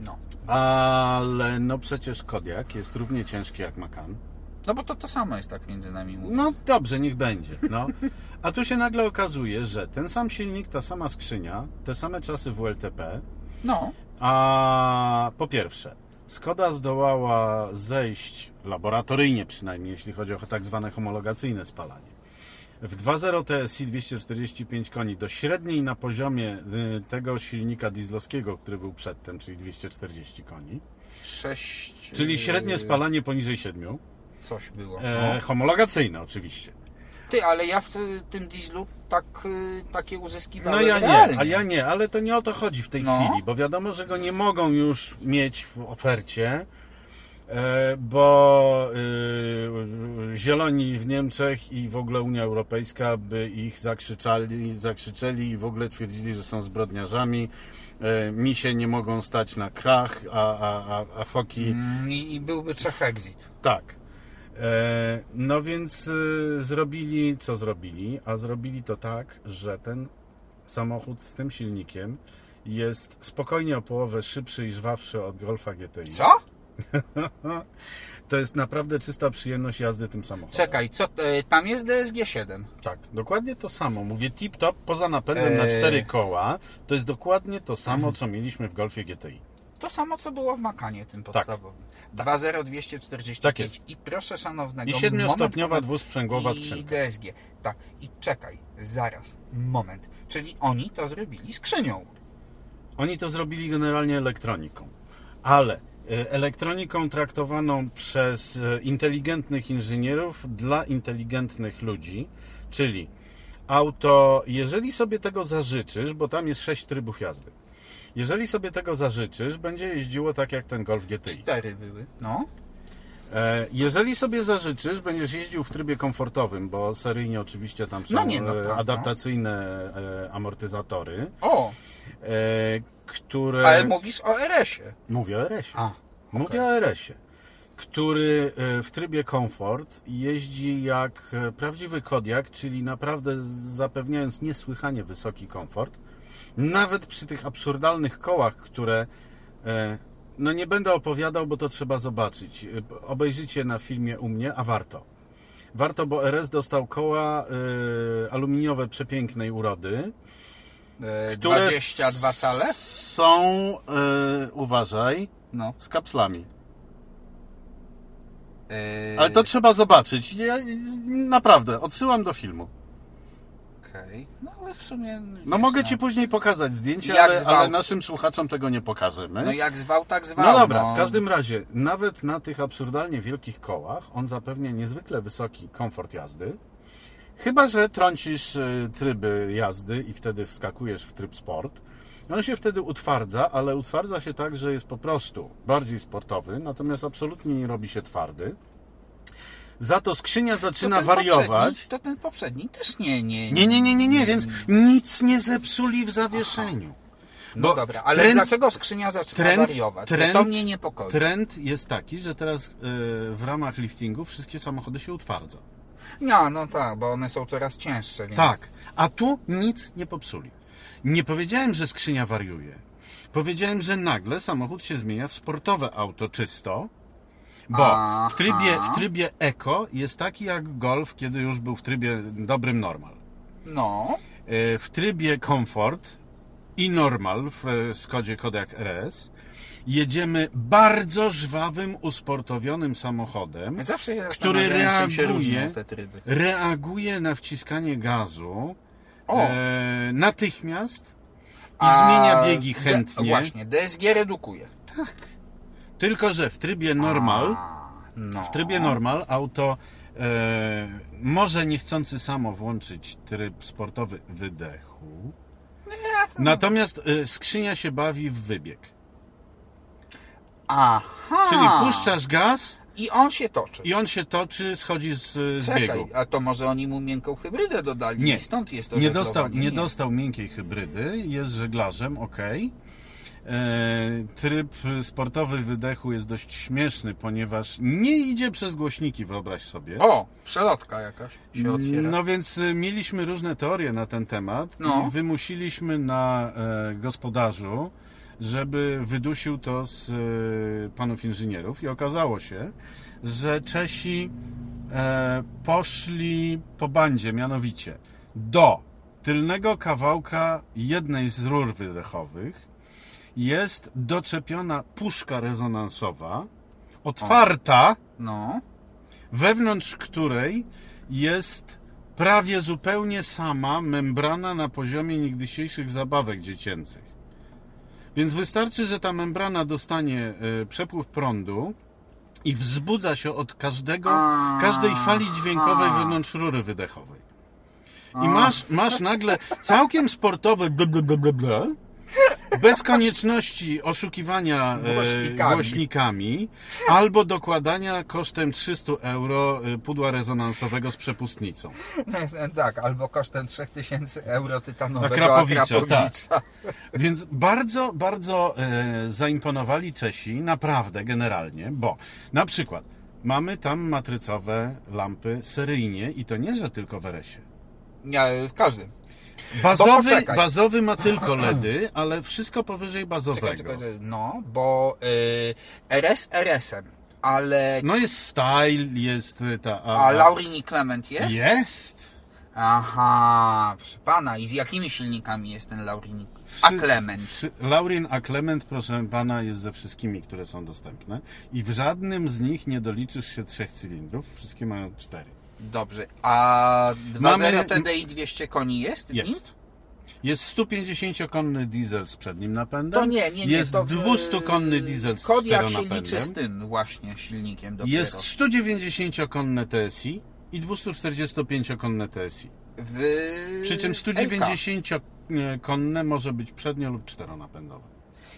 Speaker 2: No.
Speaker 1: Ale no przecież Kodiak jest równie ciężki jak Makan.
Speaker 2: No bo to to samo jest tak między nami mówiąc.
Speaker 1: No dobrze, niech będzie. No. A tu się nagle okazuje, że ten sam silnik, ta sama skrzynia, te same czasy WLTP,
Speaker 2: No.
Speaker 1: a po pierwsze, Skoda zdołała zejść, laboratoryjnie przynajmniej, jeśli chodzi o tak zwane homologacyjne spalanie. W 2.0 TSI 245 koni do średniej na poziomie y, tego silnika dieslowskiego, który był przedtem, czyli 240 koni.
Speaker 2: Sześć...
Speaker 1: Czyli
Speaker 2: y,
Speaker 1: średnie spalanie poniżej 7.
Speaker 2: Coś było.
Speaker 1: E,
Speaker 2: No.
Speaker 1: homologacyjne oczywiście.
Speaker 2: Ty, ale ja w y, tym dieslu tak, y, takie
Speaker 1: No
Speaker 2: uzyskiwałem
Speaker 1: ja nie,
Speaker 2: realnie.
Speaker 1: a ja nie, ale to nie o to chodzi w tej
Speaker 2: No.
Speaker 1: chwili, bo wiadomo, że go nie mogą już mieć w ofercie, e, bo y, zieloni w Niemczech i w ogóle Unia Europejska by ich zakrzyczali, zakrzyczeli i w ogóle twierdzili, że są zbrodniarzami. E, Misie nie mogą stać na krach, a, a, a, a foki
Speaker 2: Mm, I, I byłby Czech Exit.
Speaker 1: Tak. E, no więc y, zrobili, co zrobili? A zrobili to tak, że ten samochód z tym silnikiem jest spokojnie o połowę szybszy i żwawszy od Golfa GTI.
Speaker 2: Co?
Speaker 1: To jest naprawdę czysta przyjemność jazdy tym samochodem.
Speaker 2: Czekaj, co, y, tam jest DSG-7.
Speaker 1: Tak, dokładnie to samo. Mówię tip-top, poza napędem na
Speaker 2: Eee.
Speaker 1: cztery koła, to jest dokładnie to samo, co mieliśmy w Golfie GTI.
Speaker 2: To samo, co było w Makanie tym podstawowym. 20245
Speaker 1: Tak jest.
Speaker 2: i proszę szanownego...
Speaker 1: I siedmiostopniowa
Speaker 2: moment,
Speaker 1: dwusprzęgłowa
Speaker 2: moment, I
Speaker 1: skrzynka.
Speaker 2: DSG. Tak, i czekaj, zaraz, moment. Czyli oni to zrobili skrzynią.
Speaker 1: Oni to zrobili generalnie elektroniką, ale e, elektroniką traktowaną przez e, inteligentnych inżynierów dla inteligentnych ludzi, czyli auto, jeżeli sobie tego zażyczysz, bo tam jest sześć trybów jazdy. Jeżeli sobie tego zażyczysz, będzie jeździło tak jak ten Golf GTI.
Speaker 2: Cztery były, no.
Speaker 1: E, Jeżeli sobie zażyczysz, będziesz jeździł w trybie komfortowym, bo seryjnie oczywiście tam są
Speaker 2: No nie, no
Speaker 1: e,
Speaker 2: tak, no.
Speaker 1: adaptacyjne e, amortyzatory,
Speaker 2: O,
Speaker 1: e, które...
Speaker 2: ale mówisz o E, RS-ie.
Speaker 1: Mówię o RS-ie.
Speaker 2: A,
Speaker 1: Mówię o RS-ie, który e, w trybie komfort jeździ jak e, prawdziwy Kodiak, czyli naprawdę z- zapewniając niesłychanie wysoki komfort. Nawet przy tych absurdalnych kołach, które e, no nie będę opowiadał, bo to trzeba zobaczyć. E, p- Obejrzycie na filmie u mnie, a warto. Warto, bo RS dostał koła e, aluminiowe przepięknej urody,
Speaker 2: e,
Speaker 1: które
Speaker 2: 22 cale?
Speaker 1: są, e, uważaj,
Speaker 2: No.
Speaker 1: z kapslami.
Speaker 2: E,
Speaker 1: Ale to trzeba zobaczyć. Ja, naprawdę, odsyłam do filmu.
Speaker 2: Okej, no ale w sumie...
Speaker 1: No
Speaker 2: wiesz,
Speaker 1: mogę ci później pokazać
Speaker 2: Jak
Speaker 1: zdjęcie, ale,
Speaker 2: zwał?
Speaker 1: ale naszym słuchaczom tego nie pokażemy.
Speaker 2: No jak zwał, tak zwał.
Speaker 1: No dobra, w każdym razie, nawet na tych absurdalnie wielkich kołach, on zapewnia niezwykle wysoki komfort jazdy. Chyba, że trącisz y, tryby jazdy i wtedy wskakujesz w tryb sport. On się wtedy utwardza, ale utwardza się tak, że jest po prostu bardziej sportowy, natomiast absolutnie nie robi się twardy. Za to skrzynia
Speaker 2: To
Speaker 1: zaczyna
Speaker 2: ten
Speaker 1: wariować.
Speaker 2: poprzedni- To ten poprzedni też nie, nie.
Speaker 1: Nie, nie, nie, nie, nie, więc nic nie zepsuli w zawieszeniu.
Speaker 2: No dobra, ale
Speaker 1: trend-
Speaker 2: dlaczego skrzynia zaczyna wariować? Bo to mnie niepokoi.
Speaker 1: Trend jest taki, że teraz y, w ramach liftingu wszystkie samochody się utwardza.
Speaker 2: No, no tak, bo one są coraz cięższe, więc...
Speaker 1: Tak, a tu nic nie popsuli. Nie powiedziałem, że skrzynia wariuje. Powiedziałem, że nagle samochód się zmienia w sportowe auto czysto, bo
Speaker 2: Aha.
Speaker 1: w trybie, w trybie eko jest taki jak golf, kiedy już był w trybie dobrym normal.
Speaker 2: No,
Speaker 1: E, w trybie komfort i normal w e, Skodzie Kodiaq RS jedziemy bardzo żwawym, usportowionym samochodem,
Speaker 2: zawsze się
Speaker 1: Który
Speaker 2: zastanawiałem, czym się
Speaker 1: reaguje-
Speaker 2: różnią te tryby.
Speaker 1: reaguje na wciskanie gazu
Speaker 2: O.
Speaker 1: e, natychmiast i
Speaker 2: A
Speaker 1: zmienia biegi
Speaker 2: D-
Speaker 1: chętnie. Tak.
Speaker 2: Właśnie, DSG redukuje.
Speaker 1: Tylko, że w trybie normal,
Speaker 2: A, no.
Speaker 1: w trybie normal auto e, może niechcący samo włączyć tryb sportowy wydechu,
Speaker 2: No, Tak.
Speaker 1: natomiast e, skrzynia się bawi w wybieg.
Speaker 2: Aha.
Speaker 1: Czyli puszczasz gaz
Speaker 2: I on się toczy.
Speaker 1: i on się toczy, schodzi z, z
Speaker 2: Czekaj,
Speaker 1: biegu.
Speaker 2: a to może oni mu miękką hybrydę dodali
Speaker 1: Nie.
Speaker 2: i stąd jest to
Speaker 1: Nie
Speaker 2: żeglowanie.
Speaker 1: dostał, nie dostał miękkiej hybrydy, jest żeglarzem, ok. Tryb sportowy wydechu jest dość śmieszny, ponieważ nie idzie przez głośniki, wyobraź sobie.
Speaker 2: O, przelotka jakaś się otwiera.
Speaker 1: No więc y, mieliśmy różne teorie na ten temat
Speaker 2: No.
Speaker 1: i wymusiliśmy na e, gospodarzu, żeby wydusił to z e, panów inżynierów i okazało się, że Czesi e, poszli po bandzie, mianowicie do tylnego kawałka jednej z rur wydechowych jest doczepiona puszka rezonansowa, otwarta
Speaker 2: No.
Speaker 1: wewnątrz której jest prawie zupełnie sama membrana na poziomie niegdysiejszych zabawek dziecięcych. Więc wystarczy, że ta membrana dostanie e, przepływ prądu i wzbudza się od każdego,
Speaker 2: A,
Speaker 1: każdej fali dźwiękowej
Speaker 2: a.
Speaker 1: wewnątrz rury wydechowej. I masz, masz nagle całkiem sportowy bla, bla, bla, bla, bla, bez konieczności oszukiwania e,
Speaker 2: Głośnikami.
Speaker 1: głośnikami albo dokładania kosztem 300 euro e, pudła rezonansowego z przepustnicą.
Speaker 2: tak, albo kosztem 3000 euro tytanowego
Speaker 1: Akrapowicza,
Speaker 2: Akrapowicza.
Speaker 1: tak. Więc bardzo, bardzo e, zaimponowali Czesi, naprawdę, generalnie, bo na przykład mamy tam matrycowe lampy seryjnie i to nie, że tylko w RS-ie.
Speaker 2: Nie, w każdym.
Speaker 1: Bazowy,
Speaker 2: No, poczekaj.
Speaker 1: bazowy ma tylko LEDy, ale wszystko powyżej bazowego.
Speaker 2: Czekaj, czekaj, czekaj. No, bo y, RS RS-em, ale...
Speaker 1: No jest style, jest y, ta.
Speaker 2: A Laurini Clement jest?
Speaker 1: Jest.
Speaker 2: Aha, proszę pana. I z jakimi silnikami jest ten Laurini? A Clement.
Speaker 1: Wszy- Laurin a Clement, proszę pana, jest ze wszystkimi, które są dostępne. I w żadnym z nich nie doliczysz się trzech cylindrów. Wszystkie mają cztery.
Speaker 2: Dobrze. A 2.0
Speaker 1: Mamy-
Speaker 2: TDI 200 koni jest? w nim?
Speaker 1: Jest. Jest 150-konny diesel z przednim napędem.
Speaker 2: To nie, nie, nie.
Speaker 1: Jest
Speaker 2: to e, w-
Speaker 1: 200-konny diesel z
Speaker 2: Kodiaq się liczy z
Speaker 1: czteronapędem.
Speaker 2: tym właśnie silnikiem dopiero.
Speaker 1: Jest 190-konne TSI i 245-konne TSI.
Speaker 2: W...
Speaker 1: Przy
Speaker 2: Y,
Speaker 1: czym
Speaker 2: LK.
Speaker 1: 190-konne może być przednio lub czteronapędowe.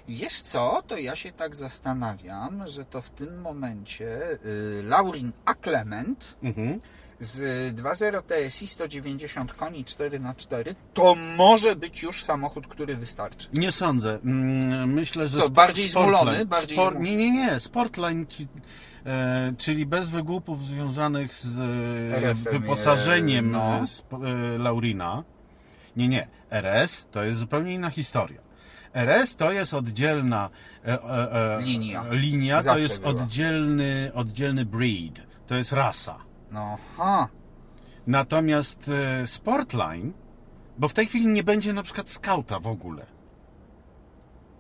Speaker 2: Wiesz co, to ja się tak zastanawiam, że to w tym momencie y, Laurin Aklement
Speaker 1: Mhm.
Speaker 2: z 2.0 TSI 190 koni 4x4 to może być już samochód, który wystarczy.
Speaker 1: Nie sądzę. Mm, Myślę, że.
Speaker 2: Co,
Speaker 1: spo-
Speaker 2: bardziej
Speaker 1: Sportline-
Speaker 2: zmulony? Bardziej zmu-
Speaker 1: nie, nie, nie. Sportline, ci, e, czyli bez wygłupów związanych z e,
Speaker 2: RS-em,
Speaker 1: wyposażeniem
Speaker 2: e, no.
Speaker 1: e, sp- e, Laurina. Nie, nie. RS to jest zupełnie inna historia. RS to jest oddzielna e, e, e,
Speaker 2: Linia.
Speaker 1: linia to
Speaker 2: Zawsze
Speaker 1: jest
Speaker 2: była.
Speaker 1: oddzielny, oddzielny breed. To jest rasa.
Speaker 2: No, ha.
Speaker 1: Natomiast e, Sportline, bo w tej chwili nie będzie na przykład skauta w ogóle.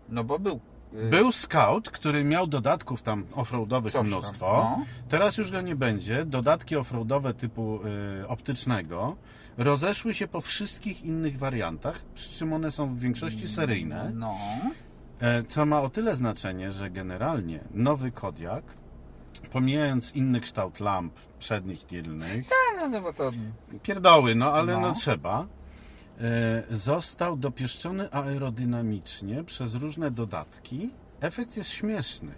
Speaker 2: no bo był. y,
Speaker 1: Był scout, który miał dodatków tam offroadowych
Speaker 2: Coś tam,
Speaker 1: mnóstwo.
Speaker 2: no.
Speaker 1: Teraz już go nie będzie. Dodatki offroadowe typu y, optycznego rozeszły się po wszystkich innych wariantach, przy czym one są w większości seryjne.
Speaker 2: No,
Speaker 1: E, co ma o tyle znaczenie, że generalnie nowy Kodiak, pomijając inny kształt lamp przednich, tylnych,
Speaker 2: A, no, no bo to.
Speaker 1: pierdoły, no ale no,
Speaker 2: No.
Speaker 1: trzeba. E, Został dopieszczony aerodynamicznie przez różne dodatki. Efekt jest śmieszny.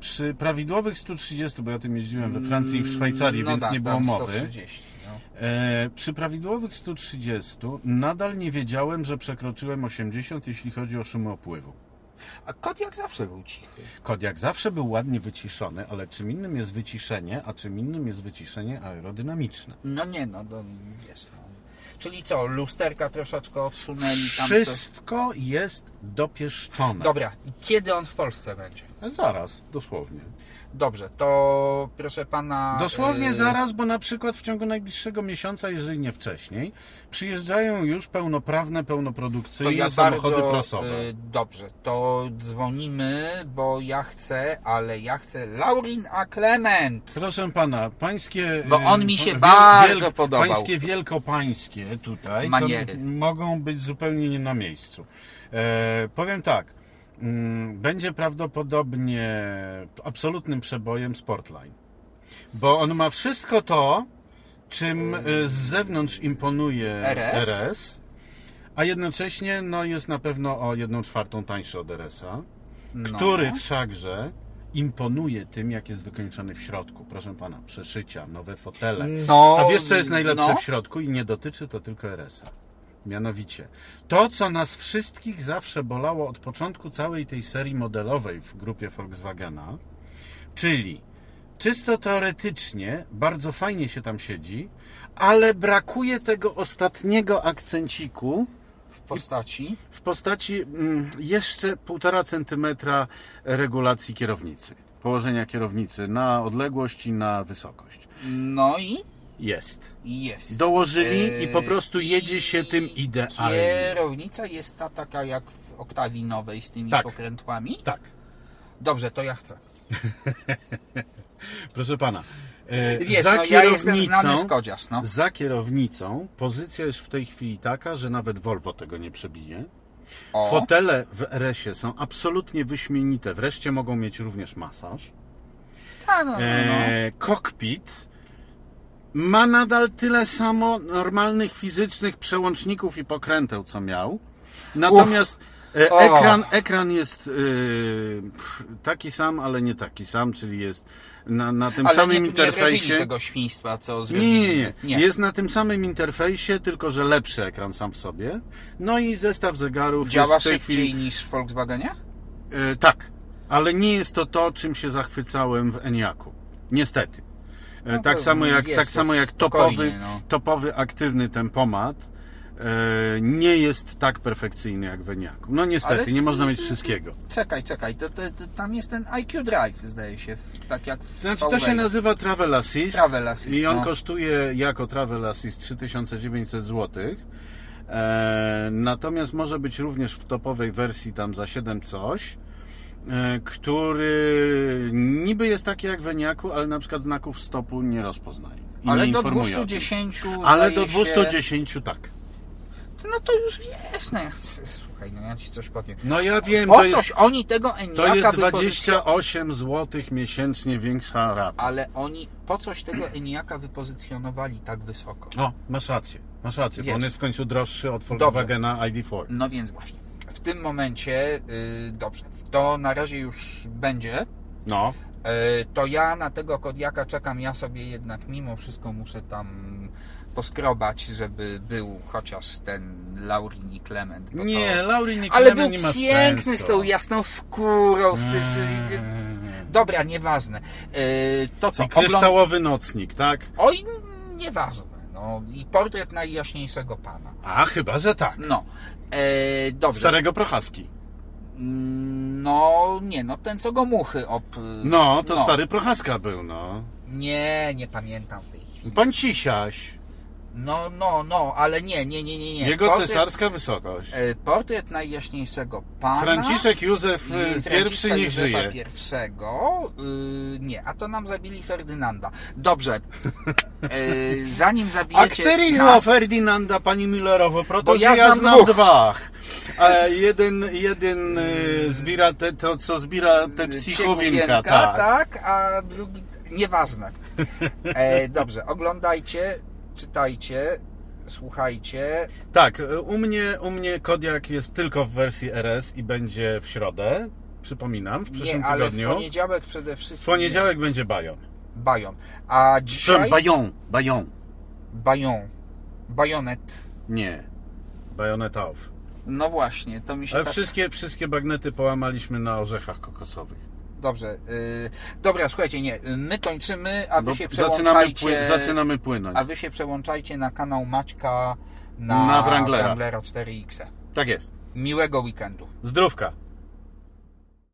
Speaker 1: przy prawidłowych 130, bo ja tym jeździłem we Francji i w Szwajcarii,
Speaker 2: no
Speaker 1: więc
Speaker 2: tak,
Speaker 1: nie było
Speaker 2: tam
Speaker 1: mowy.
Speaker 2: 130, no.
Speaker 1: E, przy prawidłowych 130 nadal nie wiedziałem, że przekroczyłem 80, jeśli chodzi o szumy opływu.
Speaker 2: A kot jak zawsze był cichy.
Speaker 1: Kod jak zawsze był ładnie wyciszony, ale czym innym jest wyciszenie, a czym innym jest wyciszenie aerodynamiczne.
Speaker 2: No nie, no to wiesz. No. Czyli co, lusterka troszeczkę odsunęli tam coś.
Speaker 1: Wszystko jest dopieszczone.
Speaker 2: Dobra, i kiedy on w Polsce będzie?
Speaker 1: Zaraz, dosłownie.
Speaker 2: Dobrze, to proszę pana.
Speaker 1: Dosłownie
Speaker 2: y,
Speaker 1: zaraz, bo na przykład w ciągu najbliższego miesiąca, jeżeli nie wcześniej, przyjeżdżają już pełnoprawne,
Speaker 2: To
Speaker 1: pełnoprodukcyjne
Speaker 2: ja
Speaker 1: samochody
Speaker 2: bardzo,
Speaker 1: prasowe.
Speaker 2: y, Dobrze, to dzwonimy, bo ja chcę, ale ja chcę Laurin a Klement.
Speaker 1: Proszę pana, pańskie.
Speaker 2: Bo on
Speaker 1: y,
Speaker 2: mi się
Speaker 1: wiel-
Speaker 2: bardzo podobał.
Speaker 1: Pańskie wielkopańskie tutaj
Speaker 2: Maniery.
Speaker 1: To mogą być zupełnie nie na miejscu. E, powiem tak. mm, Będzie prawdopodobnie absolutnym przebojem Sportline. Bo on ma wszystko to, czym e, z zewnątrz imponuje
Speaker 2: RS.
Speaker 1: RS, a jednocześnie no, jest na pewno o jedną czwartą tańszy od RS-a
Speaker 2: No.
Speaker 1: który wszakże imponuje tym, jak jest wykończony w środku. Proszę pana, przeszycia, nowe fotele.
Speaker 2: No,
Speaker 1: A wiesz, co jest najlepsze
Speaker 2: no.
Speaker 1: w środku i nie dotyczy to tylko RS-a. Mianowicie, to co nas wszystkich zawsze bolało od początku całej tej serii modelowej w grupie Volkswagena, czyli czysto teoretycznie bardzo fajnie się tam siedzi, ale brakuje tego ostatniego akcenciku,
Speaker 2: w postaci.
Speaker 1: w postaci mm, jeszcze 1,5 centymetra regulacji kierownicy, położenia kierownicy na odległość i na wysokość.
Speaker 2: No i
Speaker 1: Jest.
Speaker 2: jest.
Speaker 1: Dołożyli
Speaker 2: Yy,
Speaker 1: i po prostu jedzie się tym
Speaker 2: i
Speaker 1: idealnie.
Speaker 2: Kierownica jest ta taka jak w oktawii nowej z tymi
Speaker 1: Tak.
Speaker 2: pokrętłami.
Speaker 1: Tak,
Speaker 2: Dobrze, to ja chcę.
Speaker 1: proszę pana. e,
Speaker 2: Wiesz,
Speaker 1: za
Speaker 2: no, ja
Speaker 1: kierownicą,
Speaker 2: jestem znany skodziarz, no.
Speaker 1: za kierownicą pozycja jest w tej chwili taka, że nawet Volvo tego nie przebije.
Speaker 2: O,
Speaker 1: Fotele w RS-ie są absolutnie wyśmienite. Wreszcie mogą mieć również masaż.
Speaker 2: ta, no, no, no.
Speaker 1: e, kokpit ma nadal tyle samo normalnych fizycznych przełączników i pokręteł, co miał. Natomiast e,
Speaker 2: O.
Speaker 1: ekran, ekran jest e, pff, taki sam, ale nie taki sam, czyli jest na, na tym
Speaker 2: Ale
Speaker 1: samym
Speaker 2: nie, nie robili
Speaker 1: interfejsie.
Speaker 2: tego świństwa, co zrobili.
Speaker 1: Nie, nie, nie. Jest na tym samym interfejsie, tylko że lepszy ekran sam w sobie. No i zestaw zegarów
Speaker 2: Działa
Speaker 1: jest w tej
Speaker 2: szybciej
Speaker 1: chwili.
Speaker 2: niż w Volkswagenie?
Speaker 1: E, tak, ale nie jest to to, czym się zachwycałem w Eniaku. Niestety. E,
Speaker 2: No
Speaker 1: tak
Speaker 2: to
Speaker 1: samo jak,
Speaker 2: wiesz,
Speaker 1: tak
Speaker 2: to
Speaker 1: samo jak
Speaker 2: spokojnie,
Speaker 1: topowy,
Speaker 2: no.
Speaker 1: topowy aktywny tempomat e, nie jest tak perfekcyjny jak w Eniaku. No niestety,
Speaker 2: Ale-
Speaker 1: nie można mieć wszystkiego.
Speaker 2: Czekaj, czekaj, to, to, to, tam jest ten IQ Drive, zdaje się, w- tak jak w
Speaker 1: Znaczy, to
Speaker 2: Huawei.
Speaker 1: się nazywa Travel Assist.
Speaker 2: Travel Assist,
Speaker 1: I on
Speaker 2: no.
Speaker 1: kosztuje jako Travel Assist 3900 zł. E, natomiast może być również w topowej wersji tam za 7 coś. e, Który niby jest taki jak w Eniaku, ale na przykład znaków stopu nie rozpoznaje. I
Speaker 2: Ale
Speaker 1: nie
Speaker 2: do
Speaker 1: informuje o tym.
Speaker 2: 210
Speaker 1: Ale do
Speaker 2: zdaje się-
Speaker 1: 210 tak.
Speaker 2: No to już wiesz, no ja, słuchaj, no ja ci coś powiem.
Speaker 1: No ja wiem,
Speaker 2: Po
Speaker 1: to
Speaker 2: coś
Speaker 1: jest,
Speaker 2: oni tego
Speaker 1: to
Speaker 2: Eniaka
Speaker 1: jest
Speaker 2: wypozycja-
Speaker 1: 28 zł miesięcznie większa rata.
Speaker 2: Ale oni po coś tego Eniaka wypozycjonowali tak wysoko.
Speaker 1: No, masz rację, masz rację,
Speaker 2: Wiesz.
Speaker 1: bo on jest w końcu droższy od Volkswagena ID4.
Speaker 2: No więc właśnie. W tym momencie, y, dobrze, to na razie już będzie.
Speaker 1: No,
Speaker 2: E, to ja na tego Kodiaka czekam, ja sobie jednak mimo wszystko muszę tam poskrobać, żeby był chociaż ten Laurin i Klement. bo
Speaker 1: nie,
Speaker 2: No to...
Speaker 1: Laurin nie
Speaker 2: Ale był
Speaker 1: nie ma
Speaker 2: piękny
Speaker 1: sensu.
Speaker 2: z tą jasną skórą, z tym wszystkim.
Speaker 1: Eee.
Speaker 2: Dobra, nieważne. E, to co,
Speaker 1: I kryształowy nocnik, tak?
Speaker 2: ogląd- Oj, nieważne. No i portret najjaśniejszego pana.
Speaker 1: A, chyba, że tak.
Speaker 2: No, e, dobrze.
Speaker 1: Starego Prochaski.
Speaker 2: Mm, No, nie, no ten co go muchy ob...
Speaker 1: No, to stary Prochaska był, no.
Speaker 2: Nie, nie pamiętam tej chwili.
Speaker 1: Bądź Sisiaś,
Speaker 2: No, no, no, ale nie, nie, nie, nie, nie.
Speaker 1: jego
Speaker 2: Portret-
Speaker 1: cesarska wysokość.
Speaker 2: e, Portret najjaśniejszego pana.
Speaker 1: Franciszek Józef
Speaker 2: i
Speaker 1: y,
Speaker 2: Franciszka
Speaker 1: I niech
Speaker 2: Józefa
Speaker 1: żyje.
Speaker 2: Pierwszego. y, nie, a to nam zabili Ferdynanda. Dobrze. E, zanim
Speaker 1: A
Speaker 2: zabijecie
Speaker 1: któryho
Speaker 2: nas,
Speaker 1: Ferdynanda, pani Millerowo? Proto,
Speaker 2: Bo
Speaker 1: ja,
Speaker 2: ja
Speaker 1: ja
Speaker 2: znam
Speaker 1: znam,
Speaker 2: dwóch.
Speaker 1: dwa. E, jeden jeden e, zbiera te, to, co zbiera te
Speaker 2: Psiechówienka,
Speaker 1: psichowinka, tak.
Speaker 2: Y, tak, a drugi... Nieważne. E, dobrze, oglądajcie, czytajcie, słuchajcie.
Speaker 1: Tak, e, u mnie, u mnie Kodiak jest tylko w wersji RS i będzie w środę. przypominam, w przyszłym
Speaker 2: Nie, ale w
Speaker 1: tygodniu.
Speaker 2: poniedziałek przede wszystkim.
Speaker 1: W poniedziałek będzie Bajon.
Speaker 2: Bajon. A dzisiaj.
Speaker 1: Bajon, Bajon.
Speaker 2: Bajon. Bajonet.
Speaker 1: Nie, Bajoneta off.
Speaker 2: No właśnie, to mi się
Speaker 1: Ale
Speaker 2: tak...
Speaker 1: wszystkie, wszystkie bagnety połamaliśmy na orzechach kokosowych.
Speaker 2: Dobrze. Yy... Dobra, słuchajcie, nie. My kończymy, a wy
Speaker 1: Bo
Speaker 2: się
Speaker 1: No, zaczynamy,
Speaker 2: przełączajcie.
Speaker 1: pły, zaczynamy płynąć.
Speaker 2: A wy się przełączajcie na kanał Maćka na,
Speaker 1: Na Wranglera.
Speaker 2: 4X.
Speaker 1: Tak jest.
Speaker 2: Miłego weekendu.
Speaker 1: Zdrówka.